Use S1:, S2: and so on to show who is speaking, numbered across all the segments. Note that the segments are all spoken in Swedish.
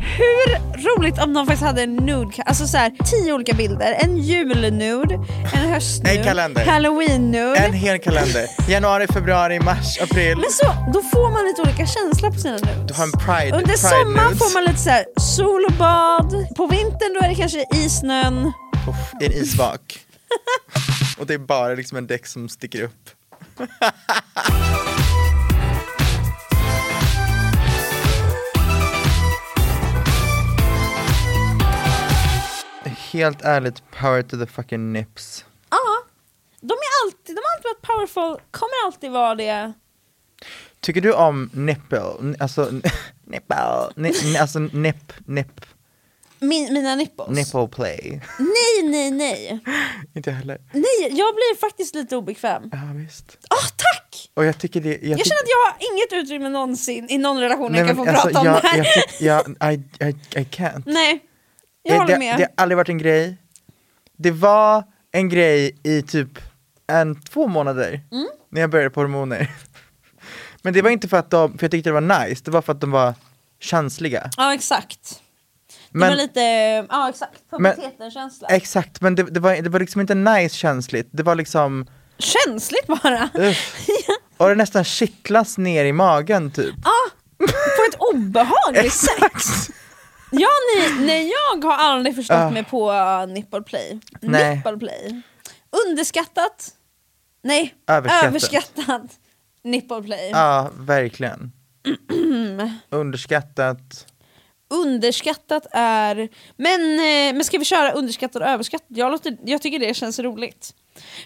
S1: Hur roligt om de faktiskt hade en nude, alltså så här, tio olika bilder. En julnude, en höstnude,
S2: En kalender.
S1: halloween-nude.
S2: En hel kalender. Januari, februari, mars, april.
S1: Men så, då får man lite olika känsla på sina nudes.
S2: Du har en pride
S1: Under
S2: pride
S1: sommaren
S2: nudes.
S1: får man lite så här, sol och bad. På vintern då är det kanske i snön.
S2: Uff, I en isvak. Och det är bara liksom en däck som sticker upp. Helt ärligt, power to the fucking nips.
S1: Ja, de, är alltid, de har alltid varit powerful, kommer alltid vara det.
S2: Tycker du om nipple? N- Alltså, nipple? Ni, ni- alltså nip, nip,
S1: Min, mina nipples.
S2: nipple play?
S1: Nej, nej, nej.
S2: Inte jag heller.
S1: Nej, jag blir faktiskt lite obekväm.
S2: Ja, visst.
S1: Åh, tack!
S2: Och jag tycker det...
S1: Jag
S2: tycker-
S1: känner att jag har inget utrymme någonsin i någon relation jag kan få
S2: men alltså,
S1: prata om
S2: jag,
S1: det här.
S2: Jag, tyck- jag, I, I, I can't.
S1: Nej, jag
S2: det,
S1: håller
S2: det,
S1: med.
S2: det har aldrig varit en grej. Det var en grej i typ en, två månader
S1: Mm.
S2: när jag började på hormoner. Men det var inte för att de, för jag tyckte det var nice, det var för att de var känsliga.
S1: Ja, exakt. Det
S2: Men-
S1: var lite, ja exakt,
S2: Men-
S1: puberteten-känsla.
S2: Exakt, men det, det, var, det var liksom inte nice känsligt, det var liksom,
S1: Känsligt bara.
S2: uff. och det nästan kittlas ner i magen typ.
S1: På ett obehagligt sätt. Ja, nej, nej, jag har aldrig förstått
S2: Ah.
S1: mig på uh, nipple play.
S2: Nej.
S1: Nipple play. Underskattat. Nej,
S2: Överskattat. Ah.
S1: överskattat. Nipple play.
S2: Ja, verkligen. Underskattat.
S1: Underskattat är... Men, eh, men ska vi köra underskattat och överskattat? Jag, låter, jag tycker det känns roligt.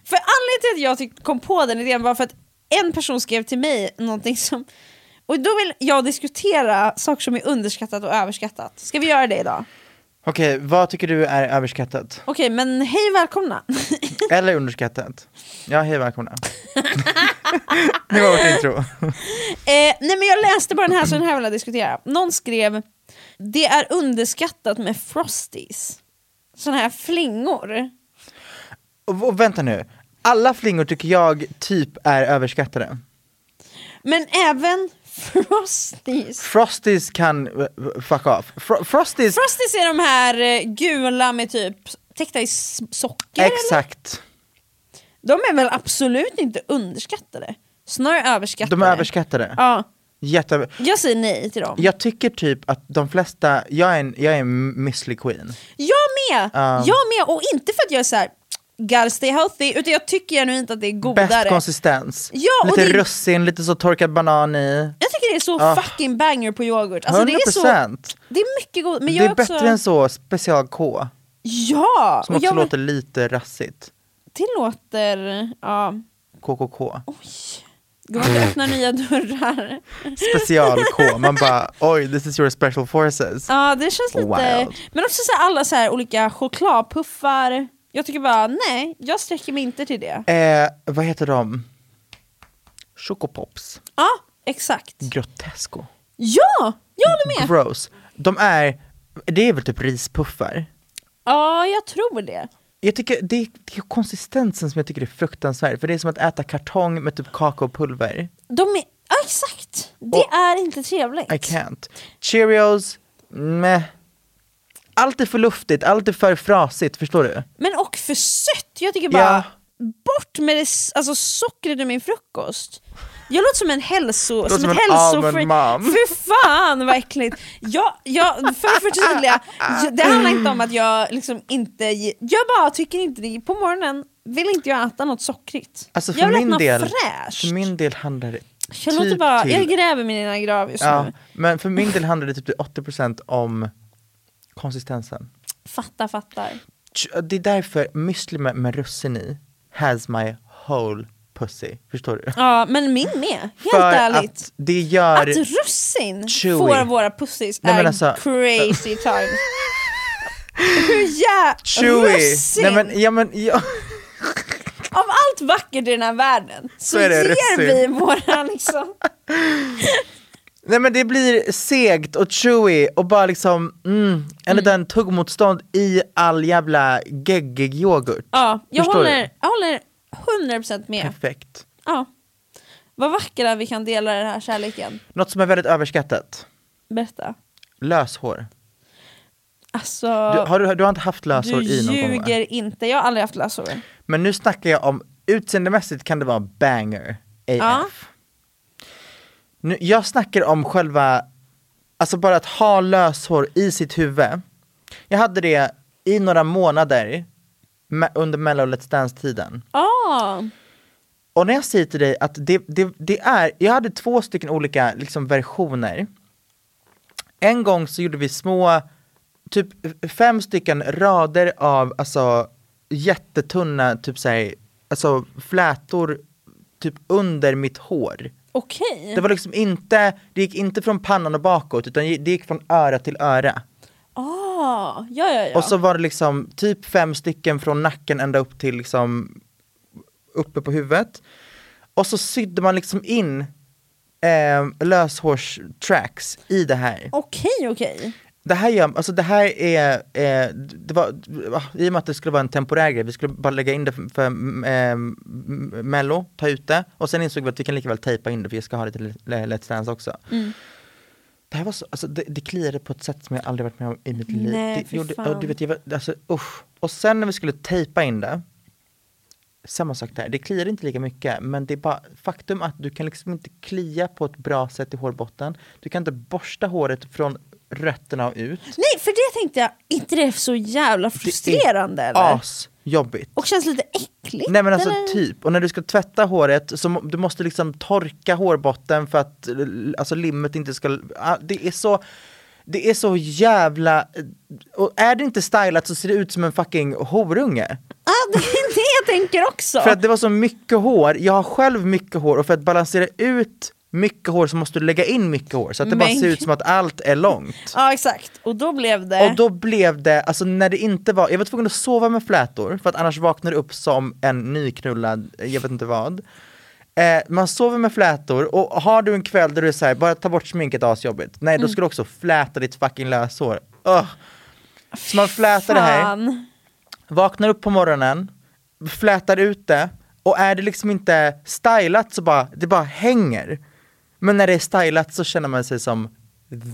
S1: För anledningen till att jag tyck- kom på den idén var för att en person skrev till mig någonting som... Och då vill jag diskutera saker som är underskattat och överskattat. Ska vi göra det idag?
S2: Okej, vad tycker du är överskattat?
S1: Okej, men hej välkomna.
S2: Eller underskattat. Ja, hej välkomna. det var vårt intro.
S1: Eh, nej men jag läste bara den här så den här vill jag diskutera. Någon skrev det är underskattat med frosties. Såna här flingor.
S2: Och, och vänta nu, alla flingor tycker jag typ är överskattade.
S1: Men även frosties.
S2: Frosties kan eh, fuck off. Fro- frosties,
S1: Frosties är de här eh, gula med typ täckta i s- socker. eller?
S2: exakt.
S1: De är väl absolut inte underskattade? Snarare överskattade.
S2: De är överskattade.
S1: Ja,
S2: Jätteöver-
S1: jag säger nej till dem.
S2: jag tycker typ att de flesta, jag är en, jag är en müsli queen.
S1: Jag med!
S2: Ja.
S1: Jag med! Och inte för att jag är så här, gotta stay healthy, utan jag tycker genuint att det är
S2: Bäst
S1: godare.
S2: konsistens.
S1: Ja, och
S2: lite
S1: det-
S2: russin, lite så torkad banan i.
S1: Jag tycker det är så
S2: Ah.
S1: fucking banger på yoghurt. Alltså, det, är så,
S2: 100%.
S1: det är mycket god, men
S2: det
S1: jag
S2: är
S1: är också...
S2: bättre än så, special K.
S1: Ja!
S2: Som
S1: och
S2: också
S1: jag,
S2: låter lite rassigt.
S1: Det låter... Ja.
S2: KKK.
S1: Går man inte öppna nya dörrar?
S2: special-K. Man bara oj, this is your special forces.
S1: Ja, det känns lite...
S2: Wild.
S1: Men också så här, alla så här olika chokladpuffar. Jag tycker bara, nej, jag sträcker mig inte till det.
S2: Eh, vad heter de? Chocopops.
S1: Ja, Exakt.
S2: Grotesco.
S1: Ja, jag håller med.
S2: Gross. De är, det är väl typ rispuffar?
S1: Ja, jag tror det.
S2: Jag tycker det är, det är konsistensen som jag tycker är fruktansvärd, för det är som att äta kartong med typ kakaopulver.
S1: De är, ja, exakt. Det är inte trevligt.
S2: I can't. Cheerios, meh. Allt är för luftigt, allt är för frasigt, förstår du?
S1: Men och för sött. Jag tycker bara,
S2: Ja.
S1: bort med det, s- alltså sockret ur min frukost. Jag låter som en hälso...
S2: som
S1: ett
S2: en
S1: hälsofreak.
S2: almond mom.
S1: För fan vad äckligt! Jag, jag, för att förtydliga, jag- det handlar inte om att jag liksom inte... ge- Jag bara tycker inte det. På morgonen vill inte jag äta något sockrigt.
S2: Alltså
S1: jag
S2: för
S1: vill
S2: min,
S1: något
S2: del,
S1: fräscht.
S2: för min del handlar det
S1: jag, låter
S2: typ
S1: bara,
S2: till-
S1: jag gräver min egna grav just
S2: ja,
S1: nu.
S2: Men för min del handlar det typ till 80% om konsistensen.
S1: Fattar, fattar.
S2: Ch- Det är därför müsli med, med russin i has my whole pussy, förstår du?
S1: Ja, men min med. Helt
S2: för
S1: ärligt.
S2: att det gör...
S1: Att russin
S2: Chewy.
S1: får våra pussis
S2: Nej,
S1: är
S2: men alltså-
S1: crazy time. Hur jä...
S2: Chewy!
S1: Russin!
S2: Nej men, ja men, ja.
S1: Av allt vackert i den här världen så,
S2: är det
S1: ger
S2: russin.
S1: vi våra liksom...
S2: Nej men det blir segt och chewy och bara liksom, mm, en liten tuggmotstånd i all jävla geggig yoghurt.
S1: Ja, jag
S2: Förstår Mm.
S1: håller,
S2: du?
S1: jag håller 100% med.
S2: Perfekt.
S1: Ja. Vad vackra vi kan dela den här kärleken.
S2: Något som är väldigt överskattat,
S1: Berätta.
S2: löshår.
S1: Alltså,
S2: Du, har, du, du har inte haft löshår
S1: du
S2: i någon gång va?
S1: ljuger inte. Jag har aldrig haft lösår.
S2: Men nu snackar jag om utseendemässigt kan det vara banger AF.
S1: Ja.
S2: Nu, jag snackar om själva, alltså bara att ha löshår i sitt huvud. Jag hade det i några månader me- under mello Let's Dance-tiden.
S1: Ah,
S2: Och när jag säger till dig att det, det, det är, jag hade två stycken olika liksom, versioner. En gång så gjorde vi små, typ fem stycken rader av alltså jättetunna, typ såhär, alltså flätor typ under mitt hår.
S1: okej.
S2: Det var liksom inte, det gick inte från pannan och bakåt utan det gick från öra till öra.
S1: Ah, ja, ja, ja.
S2: Och så var det liksom typ fem stycken från nacken ända upp till liksom uppe på huvudet. Och så sydde man liksom in eh, löshårstracks i det här.
S1: Okej, okej.
S2: Det här, gör, alltså det här är, eh, det var, i och med att det skulle vara en temporär grej, vi skulle bara lägga in det för, för eh, mello, ta ut det. Och sen insåg vi att vi kan lika väl tejpa in det för jag ska ha det till Le- Let's Dance också.
S1: Mm.
S2: Det här var så, alltså det, det kliade på ett sätt som jag aldrig varit med om i mitt liv.
S1: Nej,
S2: det
S1: fy
S2: gjorde,
S1: fan.
S2: och du vet, jag var, alltså usch. Och sen när vi skulle tejpa in det, samma sak där, det kliar inte lika mycket men det är bara faktum att du kan liksom inte klia på ett bra sätt i hårbotten. Du kan inte borsta håret från rötterna och ut.
S1: Nej, för det tänkte jag, inte det är så jävla frustrerande eller?
S2: Asjobbigt.
S1: Och känns lite äckligt?
S2: Nej men alltså
S1: eller?
S2: typ, och när du ska tvätta håret så må, du måste liksom torka hårbotten för att l- alltså, limmet inte ska... ah, Det är så... Det är så jävla... eh, Och är det inte stylat så ser det ut som en fucking horunge.
S1: ah, det är det jag tänker också!
S2: För att det var så mycket hår, jag har själv mycket hår och för att balansera ut mycket hår så måste du lägga in mycket hår så att det bara
S1: Men-
S2: ser ut som att allt är långt.
S1: Ja exakt, och då blev det...
S2: Och då blev det, alltså när det inte var, jag var tvungen att sova med flätor för att annars vaknar du upp som en nyknullad, eh, jag vet inte vad. Eh, man sover med flätor och har du en kväll där du är såhär, bara ta bort sminket asjobbigt. Nej
S1: Mm.
S2: då ska du också fläta ditt fucking löshår. Ugh. Så man flätar det här,
S1: Fan.
S2: vaknar upp på morgonen, flätar ut det och är det liksom inte stylat så bara, det bara hänger. Men när det är stylat så känner man sig som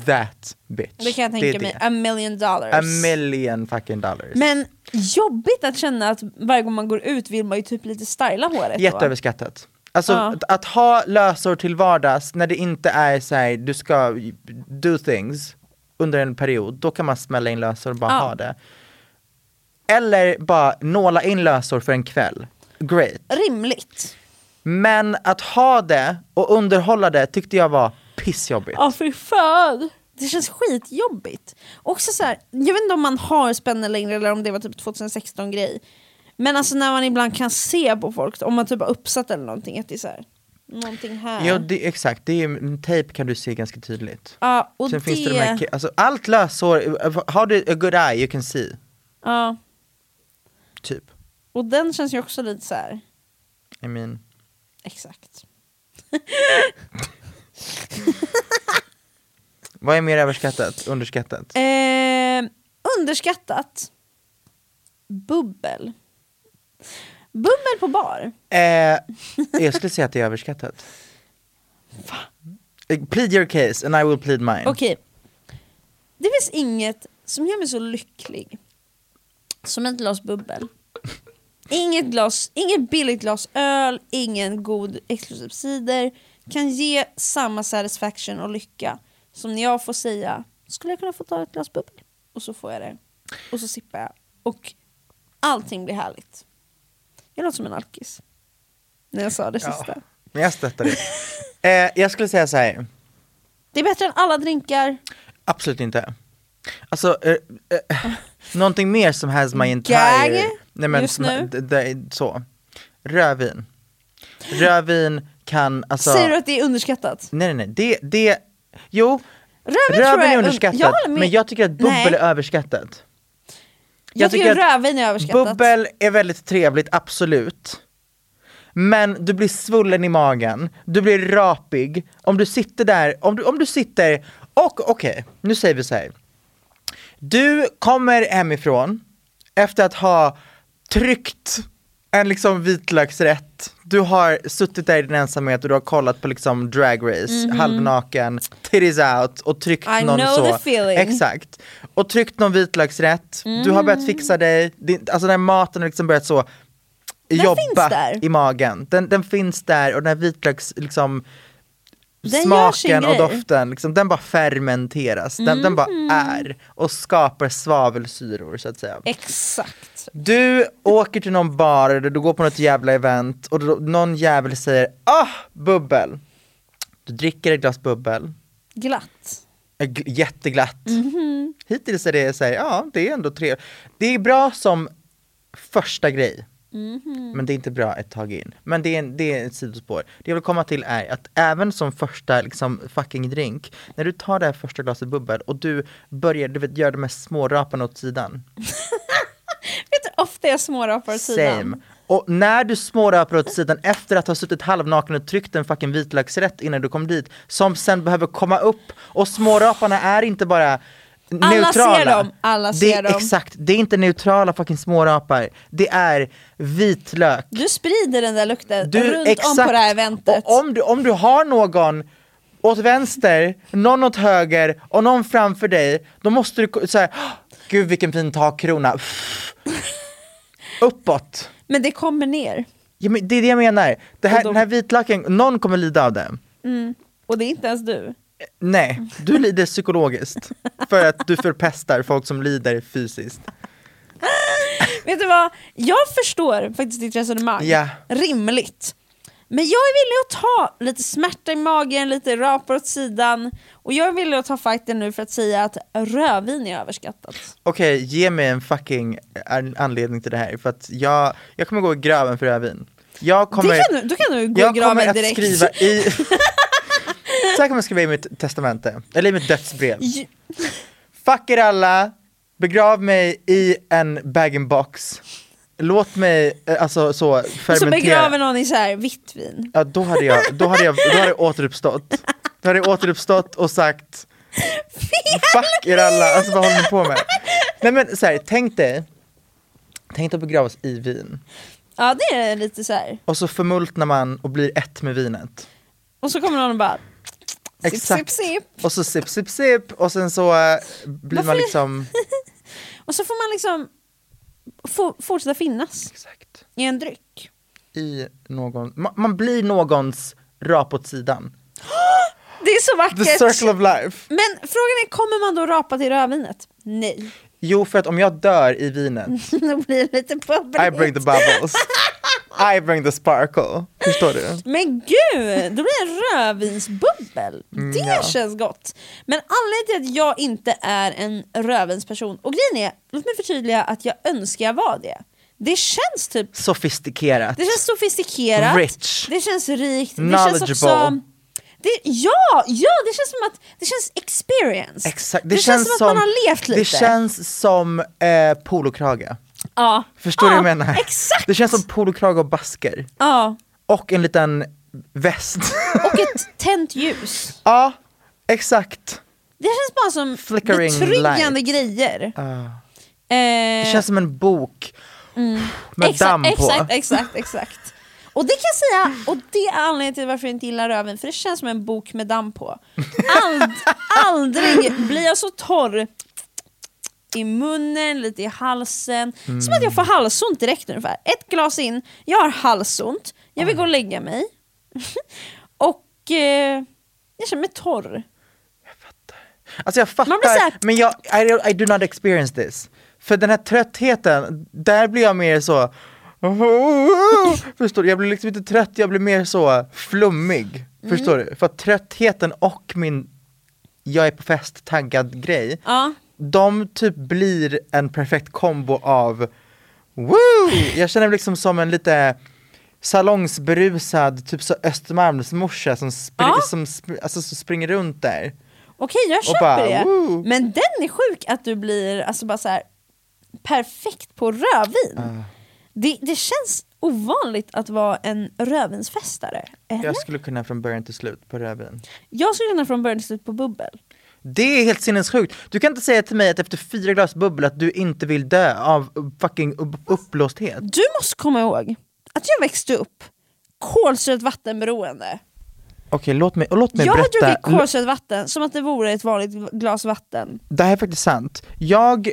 S2: that bitch.
S1: Det kan jag
S2: är
S1: tänka
S2: det.
S1: mig, a million dollars.
S2: A million fucking dollars.
S1: men jobbigt att känna att varje gång man går ut vill man ju typ lite styla håret då.
S2: Jätteöverskattat. Alltså
S1: Ja.
S2: att, att ha lösor till vardags när det inte är så här, du ska do things under en period, då kan man smälla in lösor och bara
S1: Ja.
S2: ha det. Eller bara nåla in lösor för en kväll. Great.
S1: Rimligt.
S2: Men att ha det och underhålla det tyckte jag var pissjobbigt.
S1: Ja fy fan. Det känns skitjobbigt. Också så här, jag vet inte om man har spänne längre eller om det var typ 2016 grej. Men alltså när man ibland kan se på folk, om man typ har uppsatt eller någonting, att det är så här, någonting här.
S2: Ja, det, exakt, det är, ju- tejp kan du se ganska tydligt.
S1: Ja, och
S2: Sen
S1: det...
S2: finns det de här, ki- alltså, allt lösor, har du a good eye you can see,
S1: ja,
S2: typ.
S1: och den känns ju också lite så här.
S2: I mean.
S1: Exakt.
S2: Vad är mer överskattat? Underskattat?
S1: Eh, underskattat. Bubbel. Bubbel på bar.
S2: Eh, jag skulle säga att det är överskattat. Eh, Plead your case and I will plead mine.
S1: Okej. Det finns inget som gör mig så lycklig som ett glas bubbel. Inget, glas, inget billigt glas öl, ingen god exklusiv cider kan ge samma satisfaction och lycka som när jag får säga skulle jag kunna få ta ett glas bubbel? Och så får jag det. Och så sippar jag. Och allting blir härligt. Jag låter som en alkis. När jag sa det sista.
S2: Men jag stöttar det. Eh, jag skulle säga så här.
S1: Det är bättre än alla drinkar.
S2: Absolut inte. Alltså, eh, eh, någonting mer som has my entire...
S1: Gag
S2: nej men,
S1: just
S2: som,
S1: nu.
S2: d- d- så. Rödvin. Rödvin kan, alltså...
S1: Säger du att det är underskattat?
S2: Nej nej nej, det, det, jo.
S1: Rödvin tror
S2: Rödvin
S1: jag
S2: är
S1: är un-
S2: underskattat,
S1: Jag håller med.
S2: men jag tycker att bubbel
S1: Nej.
S2: är överskattat.
S1: Jag,
S2: Jag
S1: tycker
S2: tycker att
S1: rödvin är överskattat.
S2: Bubbel är väldigt trevligt, absolut. Men du blir svullen i magen, du blir rapig. Om du sitter där, om du, om du sitter, och okej, nu säger vi så här. Du kommer hemifrån efter att ha tryckt en liksom vitlöksrätt. Du har suttit där i din ensamhet och du har kollat på liksom drag race, halvnaken, titties out och tryckt
S1: Mhm. I
S2: någon
S1: know
S2: så.
S1: the feeling.
S2: Exakt. Och tryckt någon vitlöksrätt, du har
S1: Mm.
S2: börjat fixa dig, din, alltså den här maten har liksom börjat så
S1: finns
S2: jobba
S1: där.
S2: i magen. Den, den finns där och den här vitlöks, liksom,
S1: Den gör sin
S2: smaken och
S1: grej.
S2: doften, liksom, den bara fermenteras, den, den bara är och skapar svavelsyror så att säga.
S1: Exakt.
S2: Du åker till någon bar eller du går på något jävla event och då, någon jävel säger ah, bubbel. Du dricker ett glas bubbel,
S1: Glatt.
S2: är gl- jätteglatt. Hittills är det så här, ja det är ändå trevligt. Det är bra som första grej. Men det är inte bra ett tag in. Men det är, en- det är ett sidospår. Det jag vill komma till är att även som första liksom, fucking drink, när du tar det här första glaset bubbel och du börjar, du vet, gör de här små raparna åt sidan.
S1: Vet du hur ofta jag smårapar åt sidan?
S2: Same. Och när du smårapar åt sidan efter att ha suttit halvnaken och tryckt en fucking vitlöksrätt innan du kom dit, som sen behöver komma upp och småraparna är inte bara neutrala.
S1: ser dem, alla
S2: det,
S1: ser dem.
S2: Exakt, det är inte neutrala fucking smårapar. Det är vitlök.
S1: Du sprider den där lukten
S2: Du,
S1: runt om på det här eventet.
S2: Och om, du, om du har någon åt vänster, någon åt höger och någon framför dig, då måste du säga gud vilken fin takkrona. Pff. Uppåt.
S1: Men det kommer ner.
S2: Ja, men det är det jag menar. Det här,
S1: Och de-
S2: Den här vitlöken, någon kommer lida av det.
S1: Och det är inte ens du.
S2: Nej, du lider psykologiskt för att du förpestar folk som lider fysiskt.
S1: Vet du vad? Jag förstår faktiskt ditt resonemang.
S2: Ja.
S1: Rimligt. Men jag är villig att ta lite smärta i magen, lite rapar åt sidan. Och jag är villig att ta fighten nu för att säga att rödvin är överskattat.
S2: Okej, ge mig en fucking an- anledning till det här för att jag, jag kommer gå i graven för rödvin. Jag kommer,
S1: det kan du, då kan du gå i
S2: jag kommer
S1: graven
S2: att
S1: direkt.
S2: skriva i... Så här kommer jag skriva i mitt testamente, eller i mitt dödsbrev.
S1: Ju-
S2: Fuck er alla, begrav mig i en bag-in-box. Låt mig, eh, alltså så,
S1: Och så
S2: fermentera.
S1: begraver någon i så här vitt vin.
S2: Ja då hade jag, då hade jag, då hade jag återuppstått. Då hade jag återuppstått och sagt Fuck er alla, alltså vad håller ni på med? Nej men så här, tänk dig Tänk dig att begravas i vin
S1: Ja det är lite så här.
S2: och så förmultnar man och blir ett med vinet.
S1: Och så kommer någon och bara sipp, sipp,
S2: Exakt.
S1: sipp.
S2: Och så sipp, sipp, sipp och sen så eh, blir man
S1: Varför-
S2: liksom
S1: Och så får man liksom få, fortsätta finnas
S2: Exakt.
S1: i en dryck.
S2: i någon, man, man blir någons rap åt sidan.
S1: Det är så
S2: The
S1: vackert.
S2: circle of life.
S1: Men frågan är, kommer man då rapa till rödvinet? Nej,
S2: Jo för att om jag dör i vinet,
S1: då blir det lite
S2: I bring the
S1: bubbligt.
S2: bubbles. I bring the sparkle. Förstår du?
S1: Men gud, då blir det en rödvinsbubbel. Det
S2: Mm, ja.
S1: känns gott. Men anledningen till att jag inte är en rödvinsperson, och grejen är, låt mig förtydliga att jag önskar jag var det. Det känns typ
S2: sofistikerat.
S1: Det känns sofistikerat,
S2: Rich.
S1: det känns rikt, det känns
S2: Knowledgeable.
S1: också... Det, ja, ja, det känns som att det känns experience.
S2: Exakt.
S1: Det, känns, som att man har levt lite.
S2: Det känns som eh, polokrage.
S1: ja.
S2: Förstår du
S1: ja,
S2: vad jag menar?
S1: Ah, Exakt!
S2: Det känns som polokrage och basker.
S1: Ja.
S2: Och en liten väst.
S1: Och ett tänt ljus.
S2: ja, exakt.
S1: Det känns bara som
S2: Flickering
S1: betryggande grejer. Eh,
S2: Det känns som en bok med
S1: exakt,
S2: damm på.
S1: Mm. Exakt, exakt, exakt. Och det kan jag säga, och det är anledningen till varför jag inte gillar röven, för det känns som en bok med damm på. Ald, aldrig blir jag så torr i munnen, lite i halsen. Som att jag
S2: Mm.
S1: får halsont direkt ungefär. Ett glas in, jag har halsont, jag
S2: Ah.
S1: vill gå och lägga mig. och eh, jag känner mig torr.
S2: Alltså jag fattar,
S1: Man blir så här-
S2: men jag, I, don't- I do not experience this. För den här tröttheten, där blir jag mer så... Förstår du? Jag blir liksom inte trött, jag blir mer så flummig. Förstår
S1: Mm.
S2: du? För att tröttheten och min jag är på fest taggad grej,
S1: Ja.
S2: de typ blir en perfekt kombo av woo! Jag känner mig liksom som en lite salongsberusad, typ så Östermalmsmorsa som, spr-
S1: Ja.
S2: som, spr- alltså, som springer runt där.
S1: Okej, jag köper
S2: bara,
S1: det.
S2: "Woo."
S1: Men den är sjuk att du blir alltså bara så här, perfekt på rödvin.
S2: Ah.
S1: Det, det känns ovanligt att vara en rödvinsfestare. Eller?
S2: Jag skulle kunna från början till slut på rödvin.
S1: Jag skulle kunna från början till slut på bubbel.
S2: Det är helt sinnessjukt. Du kan inte säga till mig att efter fyra glas bubbel att du inte vill dö av fucking upp- uppblåsthet.
S1: Du måste komma ihåg att jag växte upp kolsyrat vattenberoende.
S2: Okej, låt mig, låt mig
S1: jag har
S2: berätta.
S1: druckit kolsyrat vatten som att det vore ett vanligt glas vatten.
S2: Det här är faktiskt sant. Jag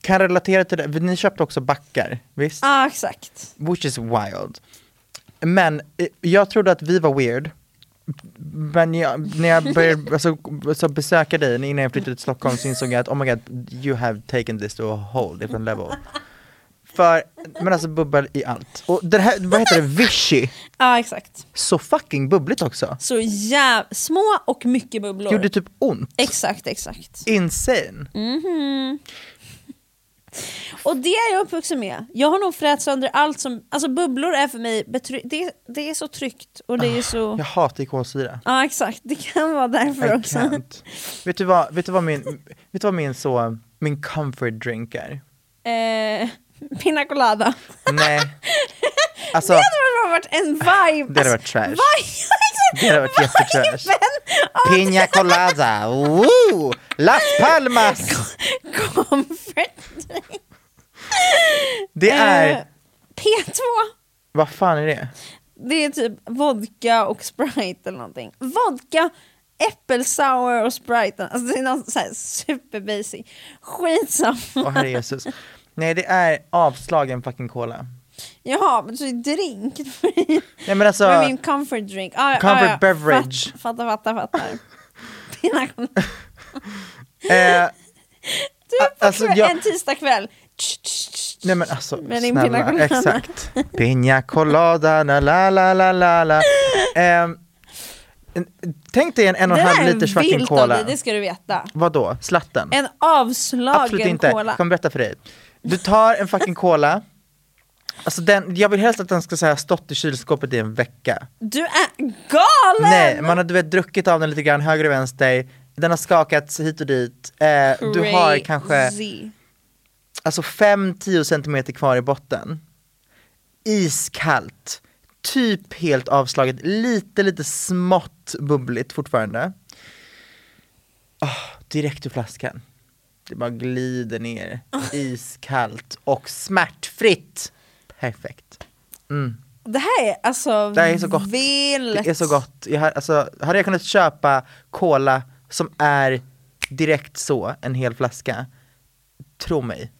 S2: kan relatera till det, ni köpte också backar, visst?
S1: Ja, ah, exakt.
S2: Which is wild. Men eh, jag trodde att vi var weird. Men jag, när jag började alltså, alltså besöka dig innan jag flyttade till Stockholm så insåg jag att oh my god, you have taken this to a whole different level. För, men alltså bubbel i allt. Och det här, vad heter det, vichy?
S1: Ja, ah, exakt.
S2: Så fucking bubbligt också.
S1: Så jäv... små och mycket bubblor.
S2: Gjorde typ ont.
S1: Exakt, exakt.
S2: Insane.
S1: Mm. Och det är jag uppvuxen med. Jag har nog frätt sönder allt som... Alltså bubblor är för mig... Betry- det, det är så tryggt och det är så...
S2: Jag
S1: Ja,
S2: hatar kolsyra.
S1: exakt. Det kan vara
S2: Ah, I
S1: därför också.
S2: can't. Vet du vad, vet du vad min, vet du vad min så, min comfort drink är?
S1: Eh, pina colada.
S2: Nej. Alltså,
S1: Det hade varit en vibe.
S2: Det hade varit trash.
S1: Vibe. exakt.
S2: Det hade varit jättetrash.
S1: Viben av
S2: Pina colada, woo! Las Palmas!
S1: comfort.
S2: Det
S1: Eh,
S2: är,
S1: P2.
S2: vad fan är det?
S1: Det är typ vodka och Sprite eller någonting. Vodka, äppelsour och Sprite. Alltså det är någon så här super basic. Skitsamma.
S2: Åh herre Jesus. Nej det är avslagen fucking cola.
S1: Jaha, men så är drink?
S2: Nej men alltså,
S1: Men min comfort drink. Ah, ja,
S2: Comfort
S1: ah, ja.
S2: beverage.
S1: Fatt- Fattar, fattar, fattar. Pina colada.
S2: eh,
S1: Du
S2: Ah,
S1: på
S2: alltså,
S1: kväll,
S2: jag-
S1: en tisdagkväll. Tsch, tsch, tsch.
S2: nej men alltså
S1: Med din pina
S2: snälla,
S1: colada.
S2: exakt. Pina colada, na, la la la la la. Ehm, en- tänk dig en en och
S1: Det
S2: en
S1: där
S2: halv
S1: är
S2: liters fucking
S1: vilt av
S2: cola.
S1: dig, det ska du veta.
S2: Vadå, slatten?
S1: En avslagen
S2: Absolut inte,
S1: cola.
S2: jag kommer berätta för dig. Du tar en fucking cola, alltså den, jag vill helst att den ska säga stått i kylskåpet i en vecka.
S1: Du är galen!
S2: Nej, man har du vet, druckit av den lite grann höger och vänster, den har skakats hit och dit, eh, du har kanske
S1: Crazy.
S2: alltså 5-10 centimeter kvar i botten. Iskallt, typ helt avslaget, lite lite smått bubbligt fortfarande. Ah, direkt ur flaskan. Det bara glider ner, iskallt och smärtfritt. Perfekt.
S1: Det här är alltså
S2: Det här är så gott.
S1: vilt.
S2: Det är så gott. Jag, har- alltså, hade jag kunnat köpa cola som är direkt så, en hel flaska, tro mig,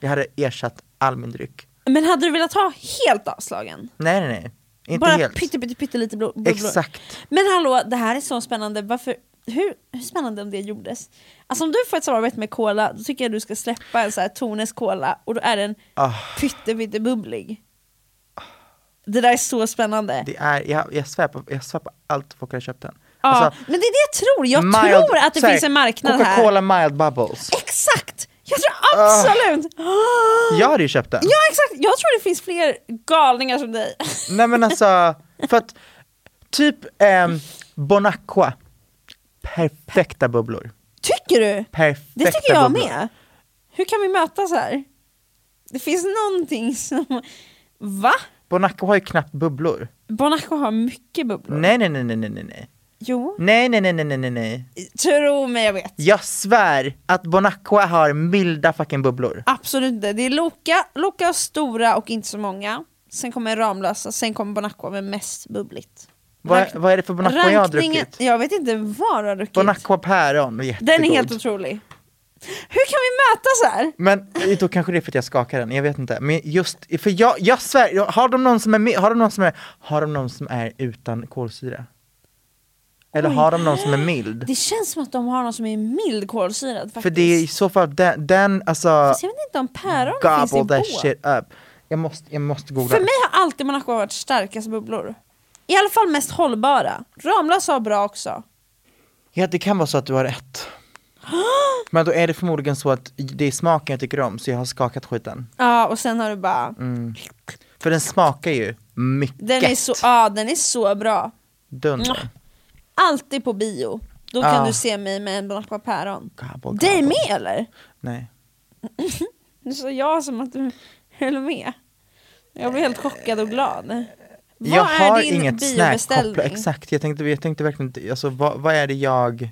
S2: jag hade ersatt all min dryck.
S1: Men hade du velat ha helt avslagen?
S2: Nej nej nej, inte
S1: Bara
S2: helt.
S1: pytte, pytte, pytte lite blo- bubblor.
S2: Exakt.
S1: Men hallå, det här är så spännande. Varför, hur, hur spännande om det gjordes? Alltså om du får ett samarbete med Cola, då tycker jag du ska släppa en så här Tornes Cola och då är den
S2: Ah.
S1: pytte, pytte bubblig. Det där är så spännande.
S2: Det är, jag, jag, svär på, jag svär på allt folk har köpt den.
S1: ja,
S2: Alltså,
S1: men det är det jag tror. Jag
S2: mild-
S1: tror att det
S2: så här,
S1: finns en marknad här.
S2: Coca-Cola mild bubbles.
S1: Exakt! Jag tror absolut!
S2: Jag hade ju köpt den.
S1: Ja exakt, jag tror det finns fler galningar som dig.
S2: Nej men alltså, för att typ ehm, Bonacqua, perfekta bubblor.
S1: Tycker du?
S2: Perfekta
S1: Det tycker jag
S2: bubblor.
S1: med. Hur kan vi mötas här? Det finns någonting som... Va?
S2: Bonaco har ju knappt bubblor.
S1: Bonaco har mycket bubblor.
S2: Nej, nej, nej, nej, nej, nej, nej.
S1: Jo,
S2: Nej, nej, nej, nej, nej, nej, nej.
S1: tro mig jag vet.
S2: Jag svär att Bonacqua har milda fucking bubblor.
S1: Absolut inte. Det är Loka, Loka har stora och inte så många. Sen kommer Ramlösa, sen kommer Bonacqua med mest bubbligt.
S2: Vad, vad är det för Bonacqua jag har
S1: Rankningen-
S2: druckit?
S1: Jag vet inte vad du har druckit.
S2: Bonacqua päron, jättegod.
S1: Den är helt otrolig. Hur kan vi möta så här?
S2: Men eh, då kanske det är för att jag skakar den, jag vet inte. Men just, för jag, jag svär, har de någon som är med, har de någon som är, har de någon som är utan kolsyra? Eller har de någon som är mild?
S1: Det känns som att de har någon som är mild kolsyrad faktiskt.
S2: För det är i så fall den, den alltså,
S1: Fast jag vet inte om päron finns i
S2: gobble
S1: båt.
S2: that shit up. Jag måste, jag måste googla.
S1: För mig har alltid Monaco varit starkast bubblor. I alla fall mest hållbara. Ramlösa har bra också.
S2: Ja, det kan vara så att du har rätt. Men då är det förmodligen så att det är smaken jag tycker om, så jag har skakat skiten.
S1: Ja, och sen har du bara...
S2: Mm, För den smakar ju mycket.
S1: Den är, så, Mm. ja, den är så bra.
S2: Dunder.
S1: Alltid på bio. Då
S2: Ja.
S1: kan du se mig med en Monaco päron.
S2: Gobble,
S1: Dig
S2: gobble.
S1: med eller?
S2: Nej.
S1: Nu sa jag som att du höll med. Jag blev helt chockad och glad. Vad
S2: jag
S1: är
S2: har
S1: din
S2: inget snack
S1: biobeställning?
S2: kopplat, exakt. Jag tänkte, jag tänkte verkligen inte, alltså vad, vad är det jag,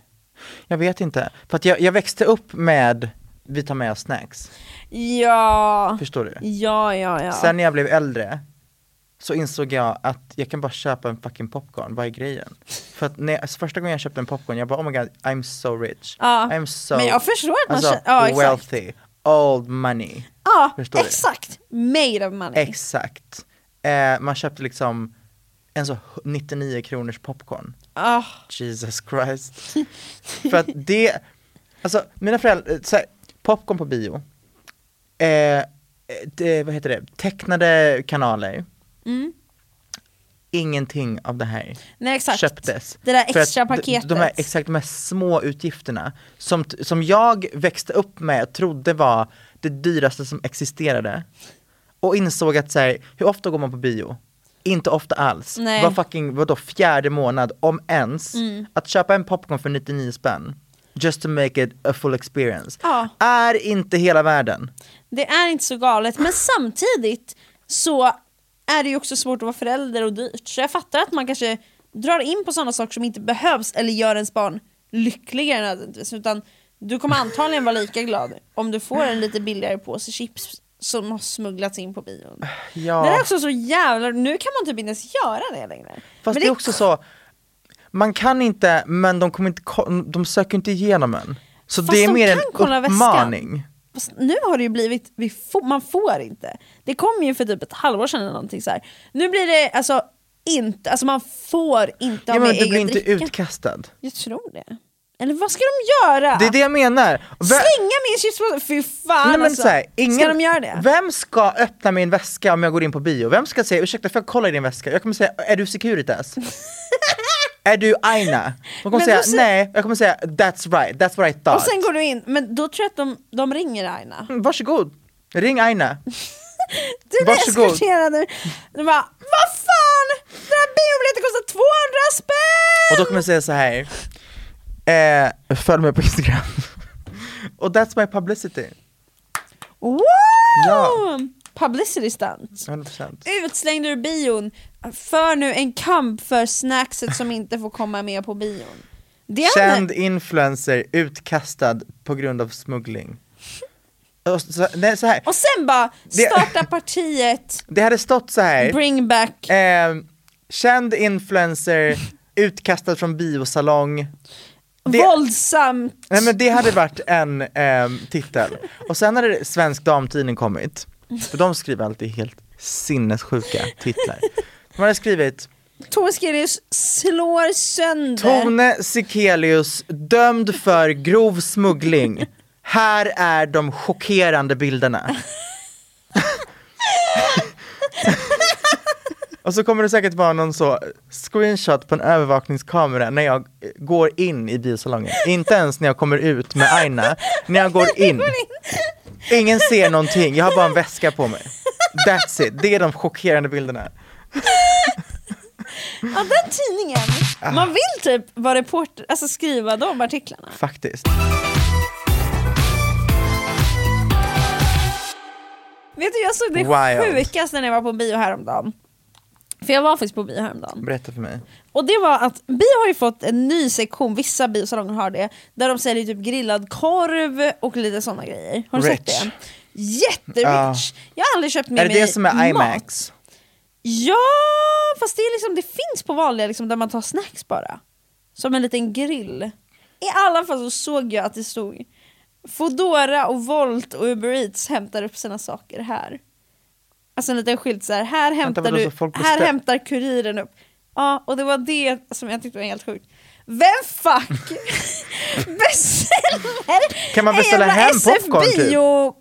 S2: jag vet inte. För att jag, jag växte upp med, vi tar med oss snacks,
S1: Ja,
S2: förstår du?
S1: ja, ja, ja.
S2: Sen när jag blev äldre så insåg jag att jag kan bara köpa en fucking popcorn, vad är grejen? För att när, alltså första gången jag köpte en popcorn, jag bara oh my god, I'm so rich,
S1: Ja,
S2: I'm so
S1: men jag förstår att man
S2: alltså,
S1: känner- ja, exakt.
S2: wealthy, old money,
S1: ja,
S2: förstår du?
S1: exakt. Made of money.
S2: exakt. Eh, man köpte liksom en så 99 kronors popcorn.
S1: Ah,
S2: Jesus Christ. För att det, alltså mina föräldrar, så här, popcorn på bio, eh, det, vad heter det, tecknade kanaler, ingenting av det här
S1: nej, exakt.
S2: köptes.
S1: Det där
S2: För att
S1: extra
S2: d-
S1: paketet.
S2: De här, exakt, de här små utgifterna som, t- som jag växte upp med och trodde var det dyraste som existerade. Och insåg att så här, hur ofta går man på bio? Inte ofta alls.
S1: Nej. Mm.
S2: Var fucking, vadå, fjärde månad, om ens. Att köpa en popcorn för 99 spänn, just to make it a full experience,
S1: Ja.
S2: är inte hela världen.
S1: Det är inte så galet, men samtidigt så är det ju också svårt att vara förälder och dyrt. Så jag fattar att man kanske drar in på sådana saker som inte behövs eller gör ens barn lyckligare nödvändigtvis. Utan du kommer antagligen vara lika glad om du får en lite billigare påse chips som har smugglats in på bion.
S2: Ja.
S1: Det är också så jävla... Nu kan man typ inte ens göra det längre.
S2: Fast det är också så, man kan inte men de, kommer inte, ko- de söker inte igenom en. Så
S1: Fast
S2: det är
S1: de
S2: mer
S1: kan
S2: en
S1: kolla väskan.
S2: uppmaning.
S1: Fast nu har det ju blivit, vi får, man får inte. Det kom ju för typ ett halvår sedan eller någonting så här. Nu blir det alltså inte, alltså man får inte ha
S2: Ja,
S1: med
S2: men du
S1: egen
S2: blir inte
S1: dricka.
S2: utkastad.
S1: Jag tror det. Eller vad ska de göra?
S2: Det är det jag menar. Vä-
S1: Slänga min chipspåse? Fy fan
S2: Nej, men
S1: alltså.
S2: så här, ingen,
S1: Ska de göra det?
S2: Vem ska öppna min väska om jag går in på bio? Vem ska säga ursäkta får jag kolla i din väska? Jag kommer säga, är du Securitas? är du Aina? De
S1: Men
S2: kommer säga
S1: då se-
S2: nej, jag kommer säga that's right, that's what I thought.
S1: Och sen går du in, men då tror jag att de, de ringer Aina.
S2: Mm, Varsågod, ring Aina.
S1: Du blir
S2: Varsågod.
S1: eskorterad nu. De bara, vad fan! Den här biobiljetten kostar 200 spänn!
S2: Och då kommer jag säga så här. Eh, följ mig på Instagram. Och that's my publicity.
S1: Wow!
S2: Ja.
S1: Publicity stunt.
S2: 100%.
S1: utslängd ur bion för nu en kamp för snackset som inte får komma med på bion. Det är
S2: Känd influencer utkastad på grund av smuggling. Och så, nej, så här.
S1: Och sen bara starta partiet,
S2: Det hade stått så här.
S1: bring back.
S2: Eh, känd influencer utkastad från biosalong. det-
S1: Våldsamt!
S2: Nej men det hade varit en ehm, titel. Och sen hade det- Svensk Damtidning kommit, för de skriver alltid helt sinnessjuka titlar. De hade skrivit
S1: Tove Skelius slår sönder.
S2: Tone Sekelius dömd för grov smuggling. Här är de chockerande bilderna. Och så kommer det säkert vara någon så screenshot på en övervakningskamera när jag eh, går in i biosalongen. Inte ens när jag kommer ut med Aina. När jag går in. Ingen ser någonting, jag har bara en väska på mig. That's it, det är de chockerande bilderna.
S1: Ja, den
S2: Ah.
S1: tidningen. Man vill typ vara reporter, alltså skriva de artiklarna.
S2: Faktiskt.
S1: Vet du, jag såg det
S2: Wild.
S1: sjukaste när jag var på bio häromdagen. För jag var faktiskt på bio häromdagen.
S2: Berätta för mig.
S1: Och det var att vi har ju fått en ny sektion, vissa biosalonger har det, där de säljer typ grillad korv och lite sådana grejer. Har du sett
S2: Rich.
S1: det? Jätterich! Jag har aldrig köpt med
S2: Är det
S1: mig
S2: det som är
S1: mat.
S2: IMAX?
S1: Ja, fast det, är liksom, det finns på vanliga liksom, där man tar snacks bara. Som en liten grill. I alla fall så såg jag att det stod Foodora och Volt och Uber Eats hämtar upp sina saker här. Alltså en liten skylt så här, här hämtar,
S2: vadå, så
S1: du,
S2: folk
S1: här
S2: beställ-
S1: hämtar kuriren upp. Ja, och det var det som jag tyckte var helt sjukt. Vem fuck beställer
S2: Kan man beställa
S1: en jävla
S2: hem popcorn, typ?
S1: SFBio?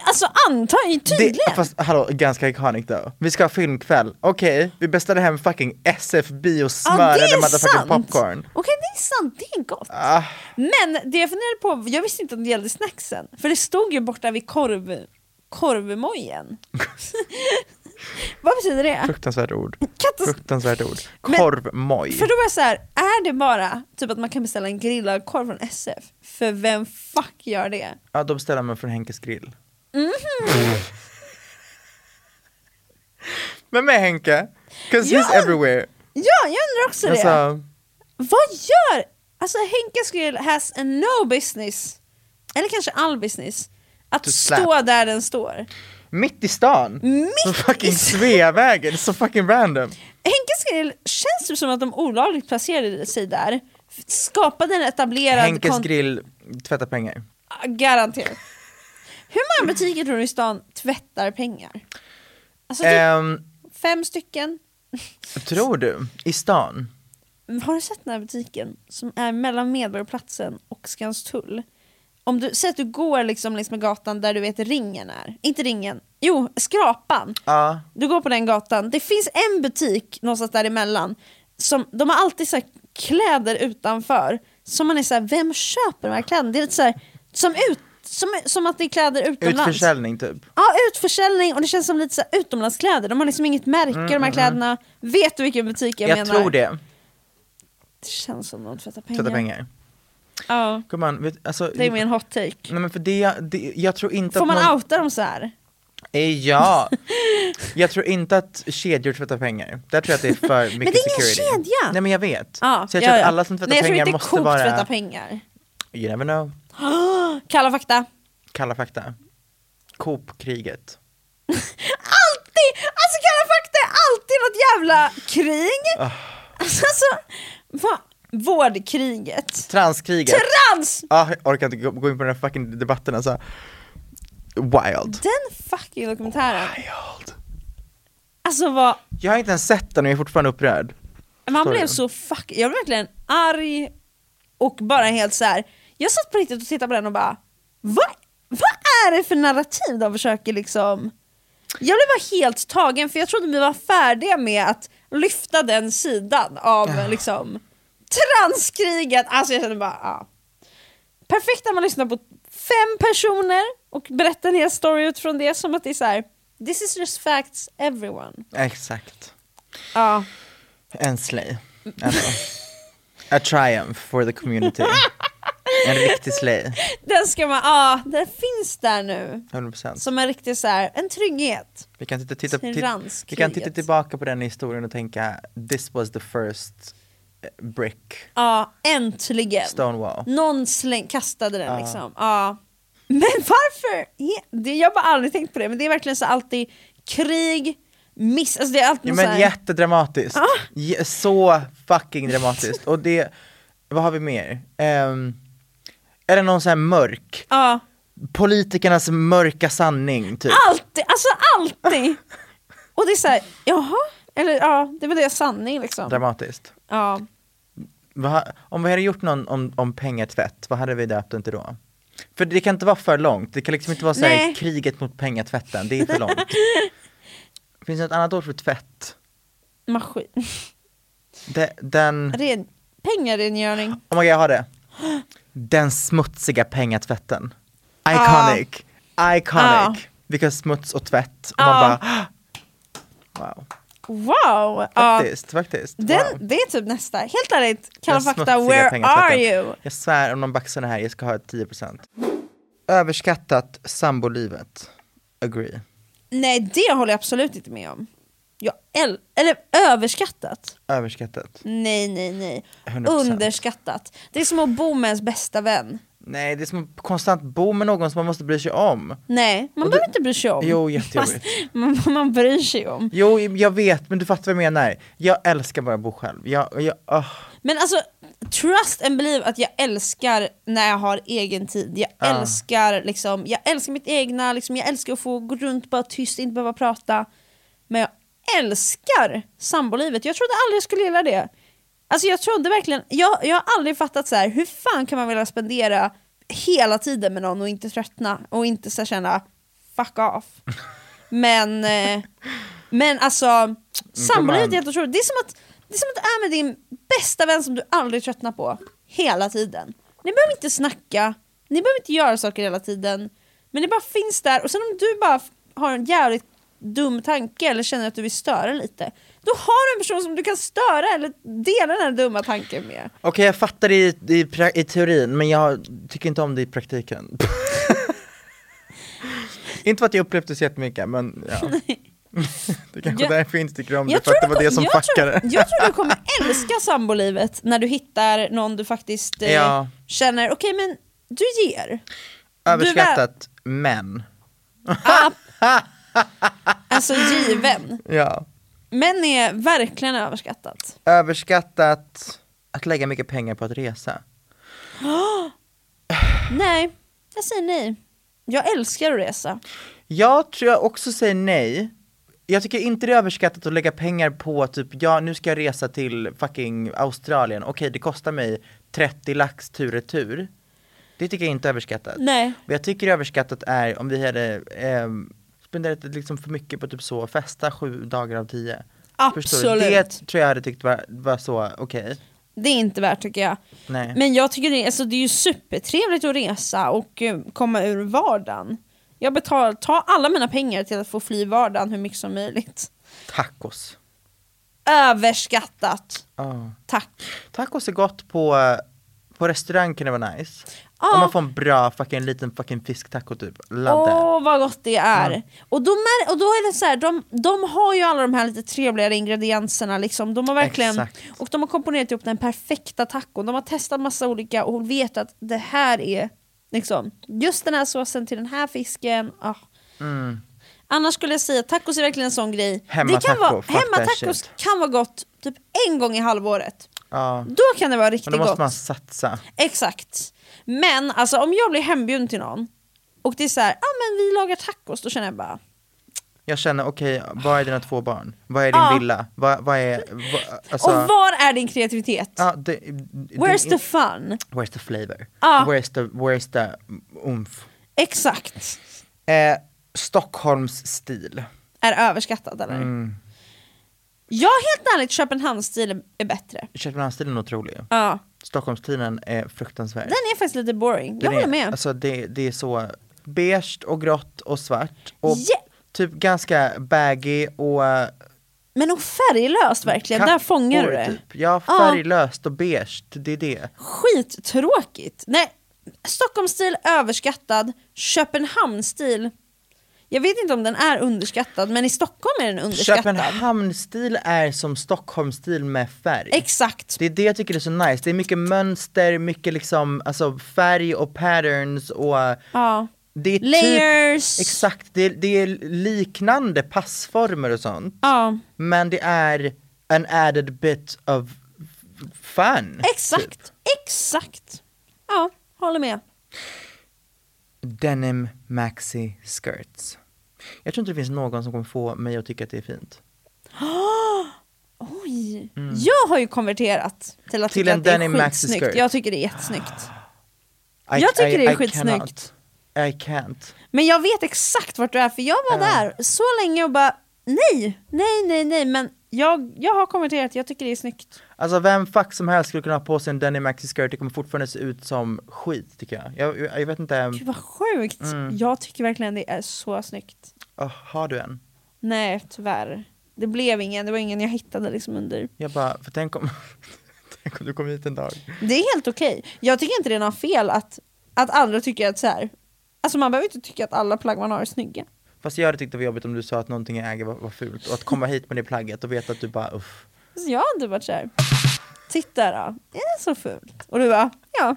S1: Alltså antagligen, tydligen.
S2: Det, fast hallå, ganska iconic då. Vi ska ha filmkväll. Okej, vi beställde hem fucking SF-bio smörade motherfucking popcorn. Ah.
S1: Okej det är sant, det är gott. Men det jag funderade på, jag visste inte att det gällde snacksen. För det stod ju borta vid korv, korvmojen. Vad betyder det?
S2: Fruktansvärt ord.
S1: Katas-
S2: Fruktansvärt ord.
S1: Men-
S2: Korvmoj.
S1: För då var jag så här, är det bara typ att man kan beställa en grillad korv från SF? För vem fuck gör det? Mhm.
S2: Ja, då beställer man från Henkes grill. Vem är Henke? 'Cause
S1: Ja!
S2: he's everywhere.
S1: Ja, jag undrar också det.
S2: Alltså,
S1: Vad gör... Alltså Henkes grill has a no business, eller kanske all business, att
S2: To slap.
S1: stå där den står.
S2: mitt i stan. På
S1: Mitt
S2: fucking Sveavägen, så fucking random.
S1: Henkes grill känns det som att de olagligt placerade sig där. F- Skapade en etablerad...
S2: Henkes
S1: kon-
S2: grill tvättar pengar.
S1: Ah, Garanterat. Hur många butiker tror du i stan tvättar pengar? Alltså typ
S2: Ehm,
S1: fem stycken.
S2: tror du? I stan?
S1: Har du sett den här butiken som är mellan Medborgarplatsen och Skanstull? Om du, säg att du går liksom längs med gatan där du vet ringen är. Inte ringen, jo skrapan.
S2: Ja.
S1: Du går på den gatan, det finns en butik någonstans däremellan. Som, de har alltid så här kläder utanför. Som man är så här, vem köper de här kläderna? Det är lite så här, som, ut, som, som att det är kläder utomlands.
S2: Utförsäljning typ.
S1: Ja, utförsäljning och det känns som lite så här utomlandskläder. De har liksom inget märke de här kläderna. Vet du vilken butik jag,
S2: Mm, Jag,
S1: menar?
S2: tror det.
S1: Det känns som de tvättar pengar.
S2: Tvättar pengar.
S1: Ja,
S2: Come on, vet, alltså,
S1: det är min hot take.
S2: Nej men för det, det jag tror inte
S1: Får
S2: att
S1: man
S2: någon...
S1: outa dem så här?
S2: Eh, Ja! Jag tror inte att kedjor tvättar pengar. Där tror jag att det är för mycket
S1: det är ingen
S2: security.
S1: kedja!
S2: Nej men jag vet.
S1: Ja,
S2: så jag
S1: ja,
S2: tror
S1: ja.
S2: att alla som tvättar
S1: Nej, jag tror
S2: pengar
S1: inte
S2: måste
S1: Coop
S2: vara...
S1: tvättar pengar.
S2: You never know.
S1: Kalla fakta.
S2: Kalla fakta. Coop-kriget.
S1: Alltid! Alltså Kalla fakta är alltid något jävla krig. Alltså, alltså vad? Vårdkriget.
S2: Transkriget.
S1: Trans!
S2: ah, jag orkar inte gå- gå in på den här fucking debatten alltså. Wild.
S1: Den fucking dokumentären.
S2: Wild.
S1: Alltså vad
S2: Jag har inte ens sett den och jag är fortfarande upprörd.
S1: Man
S2: Förstår
S1: blev
S2: du?
S1: så fuck... Jag blev verkligen arg och bara helt så här. Jag satt på riktigt och tittade på den och bara Vad, vad är det för narrativ de försöker liksom... Jag blev bara helt tagen för jag trodde vi var färdiga med att lyfta den sidan av liksom transkriget. Alltså jag kände bara ja. Perfekt när man lyssnar på fem personer och berättar en hel story utifrån det som att det är så här. This is just facts everyone.
S2: Exakt.
S1: Ja.
S2: En slay. Alltså. A triumph for the community. En riktig slay.
S1: Den ska man, ja, den finns där nu.
S2: 100%.
S1: Som en riktig så här, en trygghet.
S2: Vi kan, titta, titta, titta, vi kan
S1: Transkriget.
S2: titta tillbaka på den historien och tänka this was the first eh, brick
S1: Ja, äntligen.
S2: Stonewall.
S1: Någon släng, kastade den liksom. Ja. Men varför? är- Det, jag har bara aldrig tänkt på det, men det är verkligen så alltid krig, miss, alltså det är alltid
S2: Ja,
S1: någon så
S2: men
S1: här, Ah.
S2: jättedramatiskt. Je- Så fucking dramatiskt. Och det, vad har vi mer? Ehm, är det någon sån här mörk,
S1: Ja,
S2: politikernas mörka sanning typ?
S1: alltid, alltså alltid. Och det är så här, jaha? Eller ja, det var det sanning liksom.
S2: Dramatiskt.
S1: Ja.
S2: Vad ha- om vi hade gjort någon om, om pengatvätt, vad hade vi döpt den till då? För det kan inte vara för långt, det kan liksom inte vara så här,
S1: Nej.
S2: kriget mot pengatvätten, det är för långt. Finns det något annat ord för tvätt?
S1: Maskin.
S2: De, den,
S1: Ren, pengarengöring.
S2: oh my god jag har det. Den smutsiga pengatvätten. Iconic. Iconic. Vilka smuts och tvätt. Och man bara, wow.
S1: Wow! Ja.
S2: Faktiskt, faktiskt.
S1: Den,
S2: wow.
S1: Det är typ nästa. Helt ärligt, Kalla
S2: Den
S1: fakta,
S2: smutsiga
S1: where
S2: pengatvätten.
S1: are you?
S2: Jag svär, om någon baxar det här, jag ska ha 10%. Överskattat sambolivet. Agree.
S1: Nej, det håller jag absolut inte med om. Jag äl- eller överskattat?
S2: Överskattat.
S1: Nej, nej, nej.
S2: 100%.
S1: Underskattat. Det är som att bo med ens bästa vän.
S2: Nej, det är som att konstant bo med någon som man måste bry sig om.
S1: Nej, man behöver inte bry sig om.
S2: Jo, jättejobbigt.
S1: man, man bryr sig om.
S2: Jo, jag vet, men du fattar vad jag menar. Jag älskar bara att bo själv. Jag, jag, ah.
S1: Men alltså, trust and believe att jag älskar när jag har egen tid. Jag älskar liksom, jag älskar mitt egna, liksom, jag älskar att få gå runt bara tyst, inte behöva prata. Men jag älskar sambolivet. Jag trodde aldrig jag skulle gilla det. Alltså jag trodde verkligen, jag, jag har aldrig fattat så här, hur fan kan man vilja spendera hela tiden med någon och inte tröttna och inte så här, känna fuck off. Men, eh, men alltså, sambolivet är helt otroligt. Det är, som att, det är som att du är med din bästa vän som du aldrig tröttnar på, hela tiden. Ni behöver inte snacka, ni behöver inte göra saker hela tiden, men ni bara finns där. Och sen om du bara f- har en jävligt dum tanke eller känner att du vill störa lite, då har du en person som du kan störa eller dela den här dumma tanken med.
S2: Okej, jag fattar det i, i, pra- i teorin, men jag tycker inte om det i praktiken. inte för att jag upplevt det så jättemycket, men ja. det kanske är
S1: Jag-
S2: därför jag inte tycker om det,
S1: Jag
S2: för att det
S1: du
S2: var det
S1: kom-
S2: som
S1: jag tror,
S2: fuckade.
S1: jag tror du kommer älska sambolivet när du hittar någon du faktiskt eh,
S2: Ja.
S1: känner, okej men du ger.
S2: Överskattat, men.
S1: Alltså given.
S2: Ja.
S1: Män är verkligen överskattat.
S2: Överskattat att lägga mycket pengar på att resa.
S1: Nej, jag säger nej. Jag älskar att resa.
S2: Jag tror jag också säger nej. Jag tycker inte det är överskattat att lägga pengar på typ, ja nu ska jag resa till fucking Australien, okej det kostar mig 30 lax tur och tur. Det tycker jag inte är överskattat.
S1: Nej.
S2: Vad jag tycker är överskattat är om vi hade ehm, spenderat liksom för mycket på typ så, festa sju dagar av tio. Förstår du?
S1: Absolut.
S2: Det tror jag hade tyckt var, var så, okej.
S1: Det är inte värt tycker jag.
S2: Nej.
S1: Men jag tycker det, är- alltså, det är ju supertrevligt att resa och eh, komma ur vardagen. Jag betalar, tar alla mina pengar till att få fly vardagen hur mycket som möjligt.
S2: Tacos.
S1: Överskattat.
S2: Ah.
S1: Tack.
S2: Tacos är gott på, eh, på restaurang kan det vara nice.
S1: Ja.
S2: Om man får en bra fucking liten fucking fisktaco typ,
S1: Åh
S2: ladda.
S1: vad gott det är! Och, de är, och då är det så här, de, de har ju alla de här lite trevligare ingredienserna liksom. De har verkligen,
S2: Exakt.
S1: och de har komponerat ihop den perfekta tacon. De har testat massa olika och vet att det här är liksom, just den här såsen till den här fisken. Ah.
S2: Mm.
S1: Annars skulle jag säga taco är verkligen en sån grej.
S2: Hemmataco,
S1: det kan vara,
S2: fuck that
S1: hemmatacos
S2: shit.
S1: kan vara gott typ en gång i halvåret.
S2: Ja.
S1: Då kan det vara riktigt
S2: Men då måste
S1: gott.
S2: man satsa.
S1: Exakt. Men alltså om jag blir hembjuden till någon och det är så här, ah, men vi lagar tacos, då känner jag bara,
S2: Jag känner, okej, vad är dina två barn? Vad är din
S1: Ja.
S2: villa? Vad, vad är, vad, alltså,
S1: och var är din kreativitet?
S2: ja, det,
S1: Where's
S2: det,
S1: the fun?
S2: where's the flavor?
S1: Ja.
S2: Where's the, where's the umf?
S1: Exakt.
S2: Eh, Stockholms stil.
S1: Är överskattad eller?
S2: Mm.
S1: Jag helt ärligt, Köpenhamnsstil är bättre.
S2: Köpenhamnsstilen är otrolig.
S1: Ja.
S2: Stockholmsstilen är fruktansvärd.
S1: Den är faktiskt lite boring, jag
S2: Den
S1: håller
S2: är,
S1: med.
S2: Alltså det, det är så beige och grått och svart och
S1: Ja.
S2: typ ganska baggy och eh,
S1: Men och färglöst verkligen, där
S2: kappor
S1: fångar du det.
S2: Typ. Ja, färglöst och beige, det är det.
S1: Skittråkigt! Nej, Stockholmsstil överskattad, Köpenhamnsstil jag vet inte om den är underskattad, men i Stockholm är den underskattad.
S2: Köpenhamnsstil är som Stockholmsstil med färg.
S1: Exakt.
S2: det är det jag tycker är så nice, det är mycket mönster, mycket liksom, alltså färg och patterns och eh,
S1: Ja.
S2: det är
S1: Layers.
S2: Typ, exakt, det, det är liknande passformer och sånt.
S1: ja.
S2: Men det är an added bit of f- fun. typ.
S1: Exakt. Exakt. Ja, håller med.
S2: Denim maxi skirts. Jag tror inte det finns någon som kommer få mig att tycka att det är fint.
S1: Oj. Jag har ju konverterat till att
S2: Mm. Till
S1: tycka
S2: en
S1: att det
S2: denim
S1: är
S2: maxi
S1: skitsnyggt.
S2: skirt.
S1: Jag tycker det är jättesnyggt. Jag tycker det är skitsnyggt.
S2: Cannot. I can't.
S1: Men jag vet exakt vart du är, för jag var där så länge och bara nej, nej, nej, nej, men jag, jag har konverterat, jag tycker det är snyggt.
S2: Alltså vem fuck som helst skulle kunna ha på sig en denim maxi skirt, det kommer fortfarande se ut som skit tycker jag. Jag, jag vet inte,
S1: Gud vad sjukt. Jag tycker verkligen det är så snyggt.
S2: oh, har du en?
S1: Nej, tyvärr. Det blev ingen, det var ingen jag hittade liksom under.
S2: Jag bara, för tänk om, tänk om du kommer hit en dag.
S1: Det är helt okej. Jag tycker inte det är något fel att, att andra tycker att så här. Alltså man behöver inte tycka att alla plagg man har är snygga.
S2: Fast jag hade tyckt det var jobbigt om du sa att någonting jag äger var, var fult och att komma hit med det plagget och veta att du bara uff.
S1: Så Alltså, jag har inte varit såhär, titta då, är det så fult? Och du bara, ja.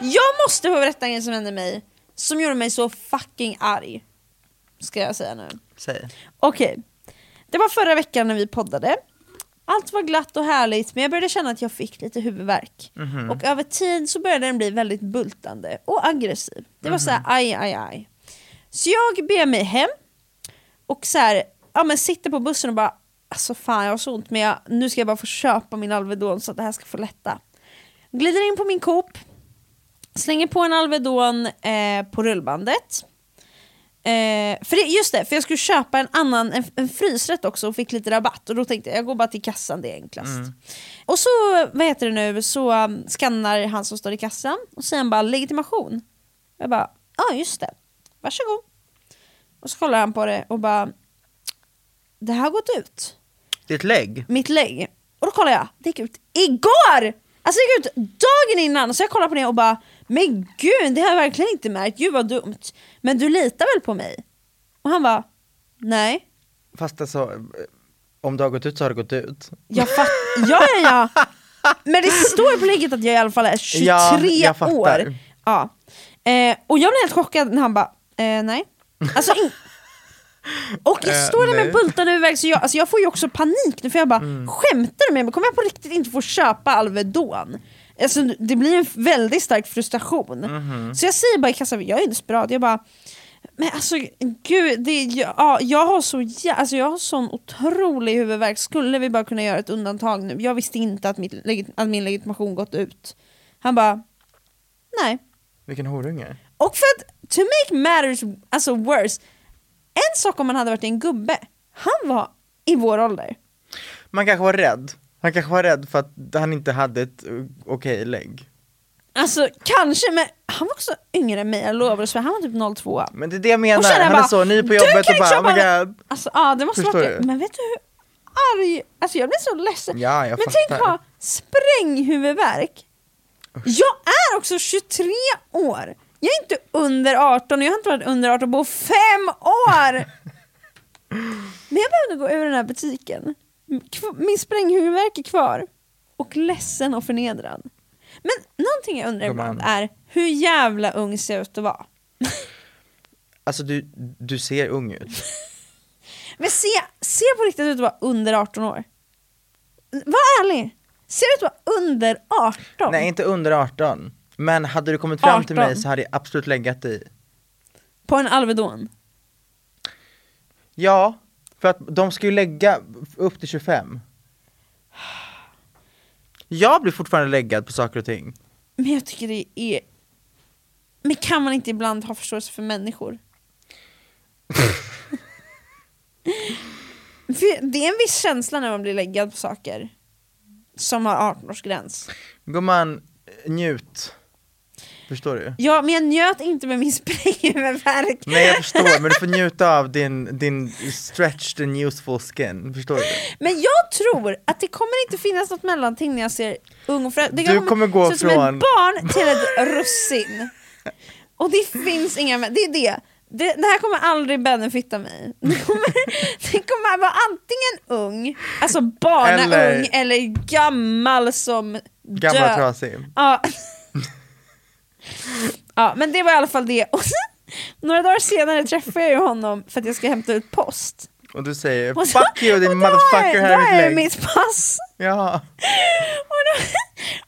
S1: Jag måste få berätta en grej som hände mig, som gjorde mig så fucking arg. Ska jag säga nu.
S2: Säg.
S1: Okej, det var förra veckan när vi poddade. Allt var glatt och härligt men jag började känna att jag fick lite huvudvärk. Och över tid så började den bli väldigt bultande och aggressiv. Det var så här aj, aj, aj. Så jag ber mig hem och så här, ja, men sitter på bussen och bara alltså fan jag har så ont men jag, nu ska jag bara få köpa min Alvedon så att det här ska få lätta. Glider in på min Coop, slänger på en Alvedon eh, på rullbandet. Eh, för det, just det, för jag skulle köpa en annan en, en frysrätt också och fick lite rabatt och då tänkte jag jag går bara till kassan, det är enklast. Och så, vad heter det nu, så um, skannar han som står i kassan och säger han bara legitimation. Jag bara, ja ah, just det, varsågod. Och så kollar han på det och bara, det här har gått ut
S2: Ditt lägg?
S1: mitt lägg. Och då kollar jag, det gick ut igår! Alltså det gick ut dagen innan, så jag kollar på det och bara Men gud, det har jag verkligen inte märkt, gud vad dumt. Men du litar väl på mig? Och han bara, nej.
S2: Fast alltså, eh, om det har gått ut så har det gått ut.
S1: Jag fattar, ja ja ja. Men det står ju på ligget att jag i alla fall är 23
S2: Ja, jag fattar.
S1: år. Ja. Eh, och jag blev helt chockad när han bara, eh, nej. Alltså, in- och jag
S2: Eh,
S1: står där med
S2: nej. Mm.
S1: bultarna över väg, så jag, alltså jag får ju också panik nu för jag bara, skämtar du med mig? Kommer jag på riktigt inte få köpa Alvedon? Alltså, det blir en väldigt stark frustration.
S2: Mhm.
S1: Så jag säger bara i kassan, jag är desperat, jag bara, men alltså gud, det, är- ja, jag har så jä- alltså, jag har sån otrolig huvudvärk, skulle vi bara kunna göra ett undantag nu? Jag visste inte att, mitt, legit- att min legitimation gått ut. Han bara, nej.
S2: Vilken horunge.
S1: Och för att, to make matters alltså worse, en sak om man hade varit en gubbe, han var i vår ålder.
S2: Man kanske var rädd. Han kanske var rädd för att han inte hade ett eh, okej lägg.
S1: Alltså kanske, men han var också yngre än mig, jag lovar, så han var typ 02.
S2: Men det är det jag menar,
S1: känner jag
S2: han är
S1: bara,
S2: så ny på
S1: "Du
S2: jobbet
S1: kan inte
S2: och bara oh my
S1: köpa-
S2: god.
S1: Alltså ja, det måste
S2: Förstår
S1: varit det.
S2: du?
S1: Men vet du hur arg, alltså jag blir så ledsen.
S2: Ja, jag
S1: men tänk
S2: fattar.
S1: ha spränghuvudvärk. Jag är också 23 år. Jag är inte under 18 och jag har inte varit under 18 på fem år. men jag behövde gå ur den här butiken. Kv- Min spränghuvudvärk är kvar. Och ledsen och förnedrad. Men någonting jag undrar
S2: Gumman.
S1: ibland är hur jävla ung ser jag ut att vara?
S2: Alltså du, du ser ung ut.
S1: Men se, se på riktigt ut att vara under 18 år. Var ärlig. Ser du ut att vara under 18?
S2: Nej inte under 18. Men hade du kommit fram till
S1: 18.
S2: mig så hade jag absolut legat i.
S1: På en Alvedon?
S2: Ja, för att de ska ju lägga upp till 25. Jag blir fortfarande läggad på saker och ting.
S1: Men jag tycker det är... Men kan man inte ibland ha förståelse för människor? för är, det är en viss känsla när man blir läggad på saker som har 18-årsgräns.
S2: Gumman, eh, njut. Förstår du?
S1: Ja, men jag njöt inte med min sprayhuvudvärk.
S2: Nej jag förstår, men du får njuta av din, din stretched and useful skin, förstår du?
S1: Men jag tror att det kommer inte finnas något mellanting när jag ser Ung och Frälst. Det
S2: Du kommer gå
S1: se ut som ett
S2: från-
S1: barn till ett russin. Och det finns inga, me- det är det. Det, det här kommer aldrig benefitta mig. Det kommer, det kommer vara antingen ung, alltså barnaung,
S2: Eller-
S1: eller, gammal som
S2: Gammal
S1: dö.
S2: trasig.
S1: Ja. ja, men det var i alla fall det. Och sen, några dagar senare träffar jag ju honom för att jag ska hämta ut post.
S2: Och du säger
S1: Och så-
S2: fuck you din
S1: och då har
S2: motherfucker
S1: jag-
S2: här
S1: Då
S2: är
S1: har
S2: mitt
S1: jag
S2: lägg.
S1: mitt pass.
S2: Ja.
S1: Och då,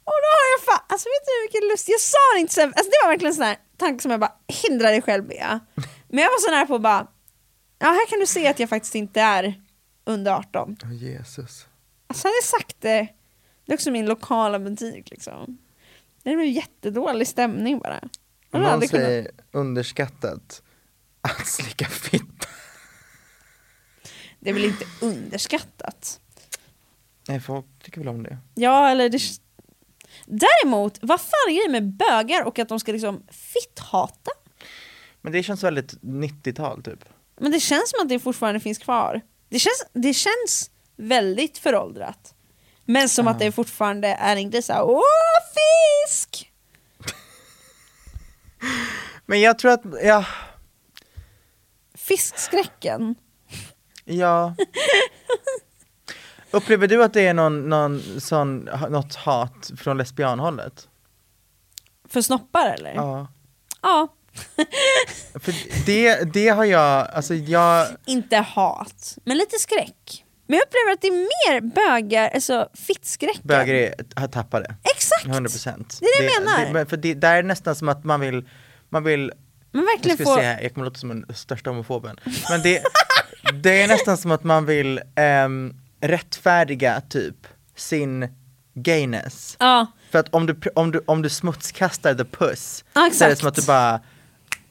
S1: och då har jag fan, alltså vet du vilken lust, jag sa det inte sen, alltså det var verkligen en sån här tanke som jag bara, hindra dig själv Bea. Men jag var så nära på att bara, ja här kan du se att jag faktiskt inte är under 18.
S2: Åh, Jesus.
S1: Alltså hade jag sagt det, det är också min lokala butik liksom. Det blev jättedålig stämning bara. Jag
S2: Om
S1: hade
S2: någon
S1: aldrig kunnat-
S2: säger underskattat att slicka fitta.
S1: Det är väl inte underskattat?
S2: Nej folk tycker väl om det.
S1: Ja, eller det... Däremot, vad fan är grejen med bögar och att de ska liksom fitthata?
S2: Men det känns väldigt 90-tal typ.
S1: Men det känns som att det fortfarande finns kvar. Det känns, det känns väldigt föråldrat. Men som att det fortfarande är en grej såhär, åh fisk!
S2: Men jag tror att, ja,
S1: Fiskskräcken.
S2: ja. Upplever du att det är någon, någon sån, något hat från lesbianhållet?
S1: För snoppar eller?
S2: Ja.
S1: Ja.
S2: För det, det har jag, alltså jag,
S1: Inte hat, men lite skräck. Men jag upplever att det är mer bögar, alltså fittskräcken.
S2: bögar är- har tappat det.
S1: Exakt!
S2: 100 procent.
S1: Det är det jag menar.
S2: men för det, där är nästan som att man vill, man vill,
S1: Men
S2: jag
S1: verkligen
S2: ska
S1: få...
S2: säga, jag kommer låta som den största homofoben. Men det, det är nästan som att man vill ehm, rättfärdiga typ sin gayness.
S1: Ja.
S2: För att om du, pr- om du, om du smutskastar the puss,
S1: Ja,
S2: så är det
S1: exakt.
S2: som att du bara,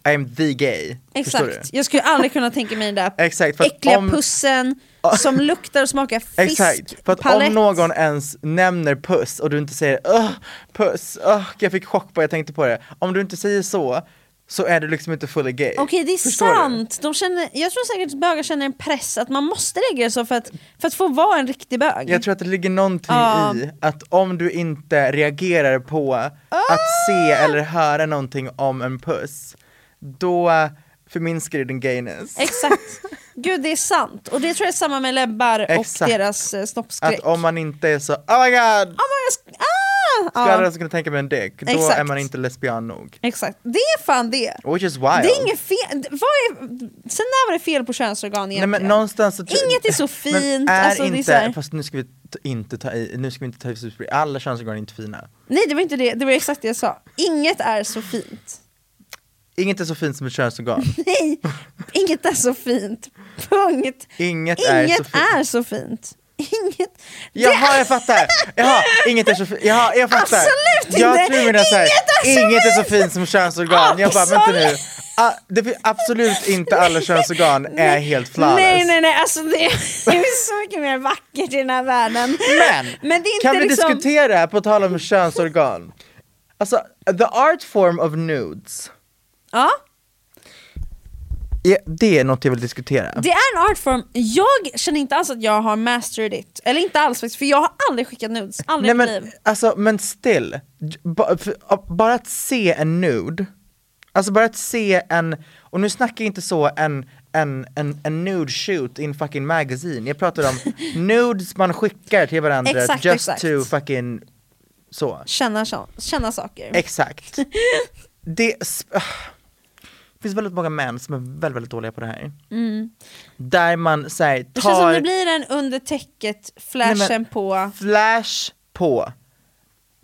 S2: I'm the gay. Förstår du?
S1: Exakt, jag skulle aldrig kunna tänka mig den där
S2: Exakt, för att
S1: äckliga
S2: om-
S1: pussen som luktar och smakar fisk,
S2: Exakt, för att
S1: palett.
S2: om någon ens nämner puss och du inte säger Åh, puss, Åh, jag fick chock på jag tänkte på det. Om du inte säger så, så är du liksom inte fully gay.
S1: Okej det är
S2: Förstår du?
S1: sant, De känner, jag tror säkert att bögar känner en press att man måste reagera så för att, för att få vara en riktig bög.
S2: Jag tror att det ligger någonting
S1: Ja.
S2: i att om du inte reagerar på att se
S1: Ah!
S2: eller höra någonting om en puss, då förminskar du din gayness.
S1: Exakt, gud det är sant. Och det tror jag är samma med läbbar
S2: Exakt.
S1: och deras eh, snoppskräck.
S2: Att om man inte är så oh my god,
S1: Oh my God, jag sk- ah!
S2: skulle
S1: Ja,
S2: aldrig ens kunna alltså tänka mig en dick, då är
S1: Exakt.
S2: man inte lesbian nog.
S1: Exakt, det är fan det.
S2: Which is wild.
S1: Det är inget fel, vad är, sen när var det fel på könsorgan
S2: Nej
S1: egentligen?
S2: men någonstans så
S1: Inget är så
S2: Men
S1: fint.
S2: är
S1: alltså,
S2: inte,
S1: det är så här,
S2: fast nu ska vi t- inte ta i, nu ska vi inte ta i för mycket. alla könsorgan är inte fina.
S1: nej det var inte det, det var exakt det jag sa. Inget är så fint.
S2: Inget är så fint som ett könsorgan.
S1: Nej, inget är så fint. Punkt.
S2: Inget, är så
S1: Inget
S2: fint.
S1: är så fint. Inget.
S2: Jaha jag fattar! Jaha, inget är så fint, jaha jag fattar!
S1: Absolut
S2: jag
S1: inte.
S2: Tror menar så här,
S1: Inget är så
S2: inget är så
S1: fint.
S2: fint som könsorgan, jag bara vänta nu.
S1: Absolut.
S2: Ah, det, fin- absolut inte alla könsorgan är helt flawless.
S1: Nej nej nej, alltså det är, det är så mycket mer vackert i den här världen.
S2: Men,
S1: Men det är inte
S2: kan vi
S1: liksom,
S2: diskutera, på tal om könsorgan, alltså the art form of nudes,
S1: Ja,
S2: Ja, det är något jag vill diskutera.
S1: det är en artform. Jag känner inte alls att jag har mastered it. Eller inte alls faktiskt, för jag har aldrig skickat nudes. Aldrig
S2: Nej
S1: i mitt
S2: men,
S1: liv.
S2: alltså, men still, J- ba- för- ja, bara att se en nude, alltså bara att se en, och nu snackar jag inte så en, en, en, en nude shoot in fucking magazine, jag pratar om nudes man skickar till varandra
S1: Exakt,
S2: just
S1: exakt.
S2: to fucking så.
S1: Känna, så- känna saker.
S2: Exakt. Det sp- det finns väldigt många män som är väldigt, väldigt dåliga på det här. Där man säger
S1: Mm. det känns som det
S2: tar
S1: blir en under täcket flashen
S2: Nej, men-
S1: på...
S2: flash på.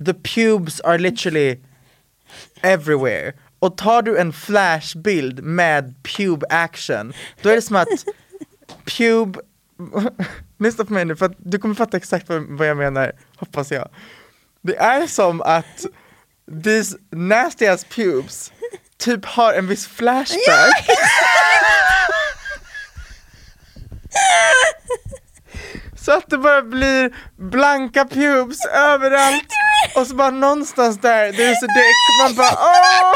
S2: The pubes are literally everywhere. Och tar du en flashbild med pube action, då är det som att pube... Lyssna på mig nu, för att du kommer fatta exakt vad, vad jag menar, hoppas jag. Det är som att these nasty ass pubes typ har en viss flashback. Så att det bara blir blanka pubes överallt. Och så bara någonstans där, there's a dick. Man bara åh!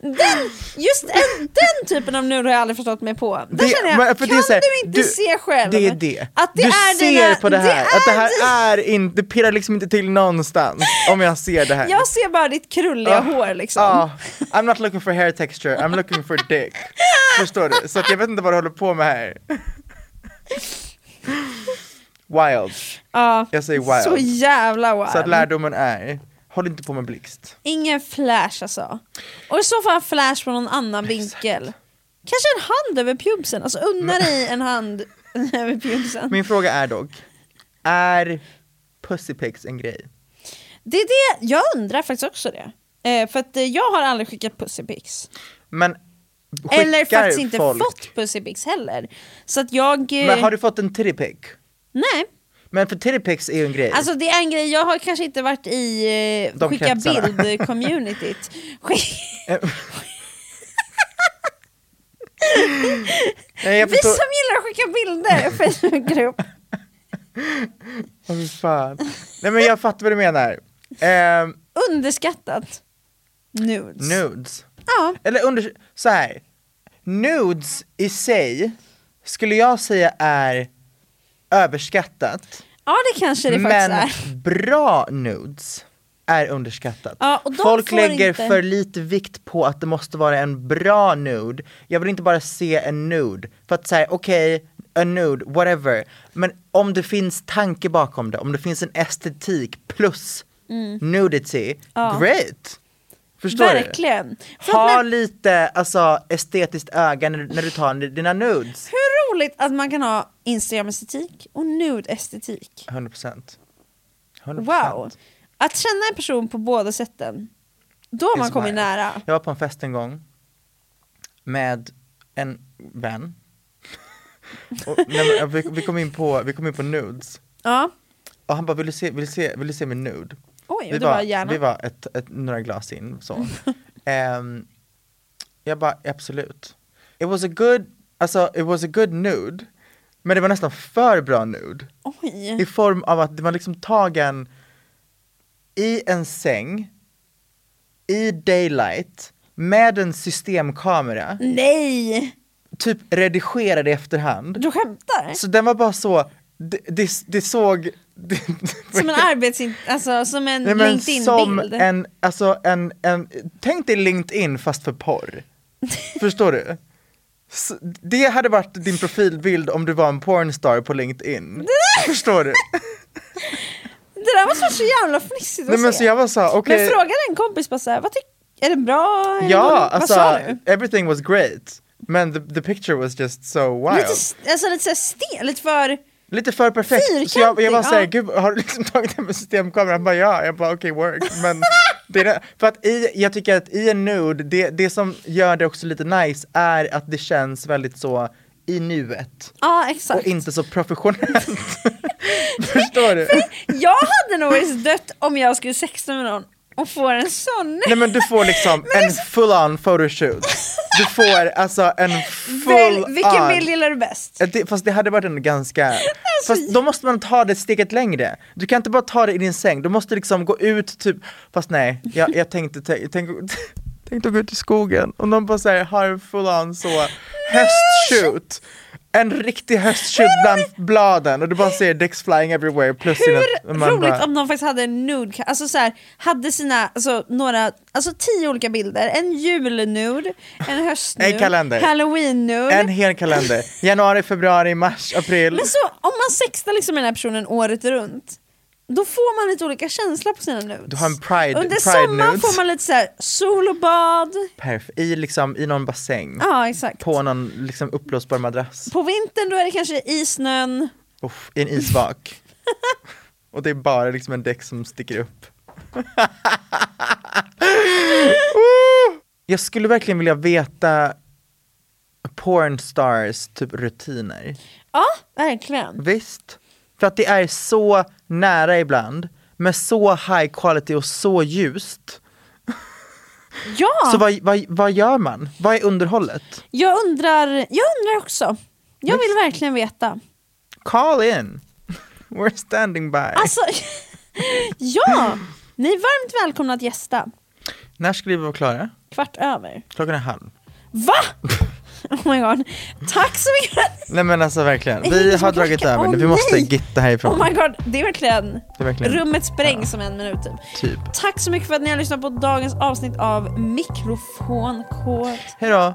S1: Den, just en, den typen av nudlar har jag aldrig förstått mig på. Där
S2: Det-
S1: känner jag,
S2: men- för det
S1: kan
S2: är så här,
S1: du inte
S2: du-
S1: se själv?
S2: Det är det.
S1: Att det
S2: du
S1: är
S2: ser
S1: dina,
S2: på det här,
S1: är
S2: att det här
S1: di-
S2: är inte, det pirrar liksom inte till någonstans om jag ser det här.
S1: Jag ser bara ditt
S2: Ah.
S1: krulliga hår liksom.
S2: Ja, I'm not looking for hair texture, I'm looking for dick. Förstår du? Så att jag vet inte vad du håller på med här. Wild.
S1: Ja.
S2: Jag säger wild.
S1: Ah. Så jävla
S2: Så att
S1: wild.
S2: lärdomen är, håll inte på med blixt.
S1: Ingen flash alltså. Och i så fall flash från någon annan vinkel. Kanske en hand över pubsen, alltså unna dig en hand över pubsen.
S2: Min fråga är dock, är pussy pics en grej?
S1: Det är det, jag undrar faktiskt också det. Eh, för att eh, jag har aldrig skickat pussypics.
S2: Men skickar
S1: Eller faktiskt inte
S2: folk,
S1: fått pussypics heller. Så att jag... eh,
S2: Men har du fått en titty pic?
S1: Nej.
S2: Men för titty pics är ju en grej.
S1: Alltså det är en grej, jag har kanske inte varit i eh,
S2: De
S1: skicka
S2: kretsarna.
S1: bild-communityt. Skick-
S2: Nej, jag
S1: Vi
S2: förstår.
S1: som gillar att skicka bilder, Facebookgrupp.
S2: Åh, fy fan. Nej men jag fattar vad du menar. Ehm,
S1: Underskattat. Nudes.
S2: nudes.
S1: Ja.
S2: Eller under, så här. Nudes i sig skulle jag säga är överskattat.
S1: ja, det kanske det
S2: Men
S1: faktiskt är.
S2: bra nudes är underskattat.
S1: Ja, och de
S2: Folk
S1: får
S2: lägger
S1: inte-
S2: för lite vikt på att det måste vara en bra nude. Jag vill inte bara se en nude. För att säga okej, a nude, whatever. Men om det finns tanke bakom det, om det finns en estetik plus
S1: Mm.
S2: nudity, great! Förstår
S1: Verkligen.
S2: du?
S1: För att
S2: Ha
S1: när,
S2: lite alltså, estetiskt öga när, när du tar dina nudes.
S1: hur roligt att man kan ha Instagram-estetik och nude-estetik.
S2: 100%. 100%.
S1: Wow. Att känna en person på båda sätten, då har man
S2: is
S1: kommit
S2: mine.
S1: nära.
S2: Jag var på en fest en gång med en vän. och, nej, men, vi, vi, kom in på, vi kom in på nudes.
S1: Ja.
S2: Och han bara, vill du se, vill du se, vill du se min nude?
S1: Oj,
S2: vi
S1: det var
S2: var,
S1: gärna.
S2: vi var ett, ett, några glas in så. Ehm, jag bara, absolut. It was a good, alltså it was a good nude. Men det var nästan för bra nude.
S1: Oj.
S2: I form av att det var liksom tagen i en säng, i daylight, med en systemkamera,
S1: Nej!
S2: typ redigerad i efterhand.
S1: Du skämtar?
S2: Så den var bara så, det, det, det såg... Det,
S1: Som en arbetsin... Alltså som en
S2: Nej, men som
S1: LinkedIn-bild.
S2: en, alltså en, en, tänk dig LinkedIn fast för porr. Förstår du? S- Det hade varit din profilbild om du var en pornstar på LinkedIn. Förstår du?
S1: Det där var så, så jävla fnissigt att
S2: Nej men
S1: se.
S2: så jag var så, okej.
S1: Men frågade en kompis bara såhär, vad tycker... Är den bra? Är den
S2: Ja,
S1: dålig?
S2: alltså
S1: Vad sa du?
S2: everything was great. Men the, the picture was just so wild.
S1: Lite,
S2: Lite,
S1: s- alltså lite såhär stel, lite för...
S2: för perfekt. Så jag, jag var
S1: Fyrkantig,
S2: såhär,
S1: ja.
S2: gud har du liksom tagit den med systemkameran? Han bara ja, jag bara okej work. Men det är det. För att i, jag tycker att i en nude, det, det som gör det också lite nice är att det känns väldigt så i nuet.
S1: Ja,
S2: Och
S1: exakt.
S2: inte så professionellt. Förstår du?
S1: Jag hade nog varit dött om jag skulle sexta med någon och får en sån.
S2: Nej men du får liksom en full on photoshoot. Du får alltså en full
S1: Väl, vilken
S2: on.
S1: bild gillar du bäst?
S2: Ja, Det, fast det hade varit en ganska... Fast då måste man ta det steget längre. Du kan inte bara ta det i din säng, du måste liksom gå ut typ... Fast nej, jag, jag tänkte, tänk, tänk, tänkte gå ut i skogen och någon bara säger har en full on så höstshoot. En riktig höstshoot bland bladen och du bara ser dicks flying everywhere plus
S1: Hur
S2: man
S1: roligt
S2: bara,
S1: om någon faktiskt hade en nude, alltså så här, hade sina, alltså några, alltså tio olika bilder. En julnude, en höstnude,
S2: En kalender.
S1: halloween-nude.
S2: En hel kalender. Januari, februari, mars, april.
S1: Men så om man sextar liksom med den här personen året runt, då får man lite olika känslor på sina nudes.
S2: Du har en pride-
S1: Under
S2: pride
S1: sommaren
S2: nudes.
S1: får man lite så här sol och bad.
S2: Perf- I liksom, i någon bassäng.
S1: Ja, exakt.
S2: På någon liksom uppblåsbar madrass.
S1: På vintern då är det kanske i snön.
S2: Uff, i en isvak. och det är bara liksom en däck som sticker upp. Woo! jag skulle verkligen vilja veta pornstars typ rutiner.
S1: Ja, verkligen.
S2: Visst? För att det är så nära ibland, med så high quality och så ljust.
S1: Ja,
S2: Så vad, vad, vad gör man? Vad är underhållet?
S1: jag, undrar, jag undrar också. Jag vill verkligen veta.
S2: Call in. We're standing by.
S1: Alltså, ja! Ni är varmt välkomna att gästa.
S2: När skulle vi vara klara?
S1: Kvart över.
S2: Klockan är halv.
S1: Va? Oh my god. Tack så mycket!
S2: Nej men alltså verkligen,
S1: Det är
S2: vi
S1: ingen
S2: har
S1: som
S2: dragit
S1: klackar.
S2: över nu.
S1: Åh,
S2: Vi måste
S1: nej.
S2: gitta härifrån.
S1: Oh my god, det är verkligen,
S2: Det är verkligen-
S1: rummet sprängs om en minut typ.
S2: Typ.
S1: Tack så mycket för att ni har lyssnat på dagens avsnitt av Mikrofonkod.
S2: Hejdå!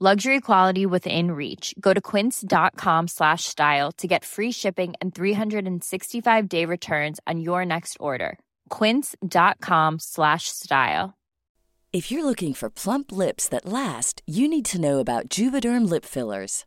S3: Luxury quality within reach. Go to quince.com slash style to get free shipping and 365 day returns on your next order. Quince.com slash style.
S4: If you're looking for plump lips that last, you need to know about Juvederm lip fillers.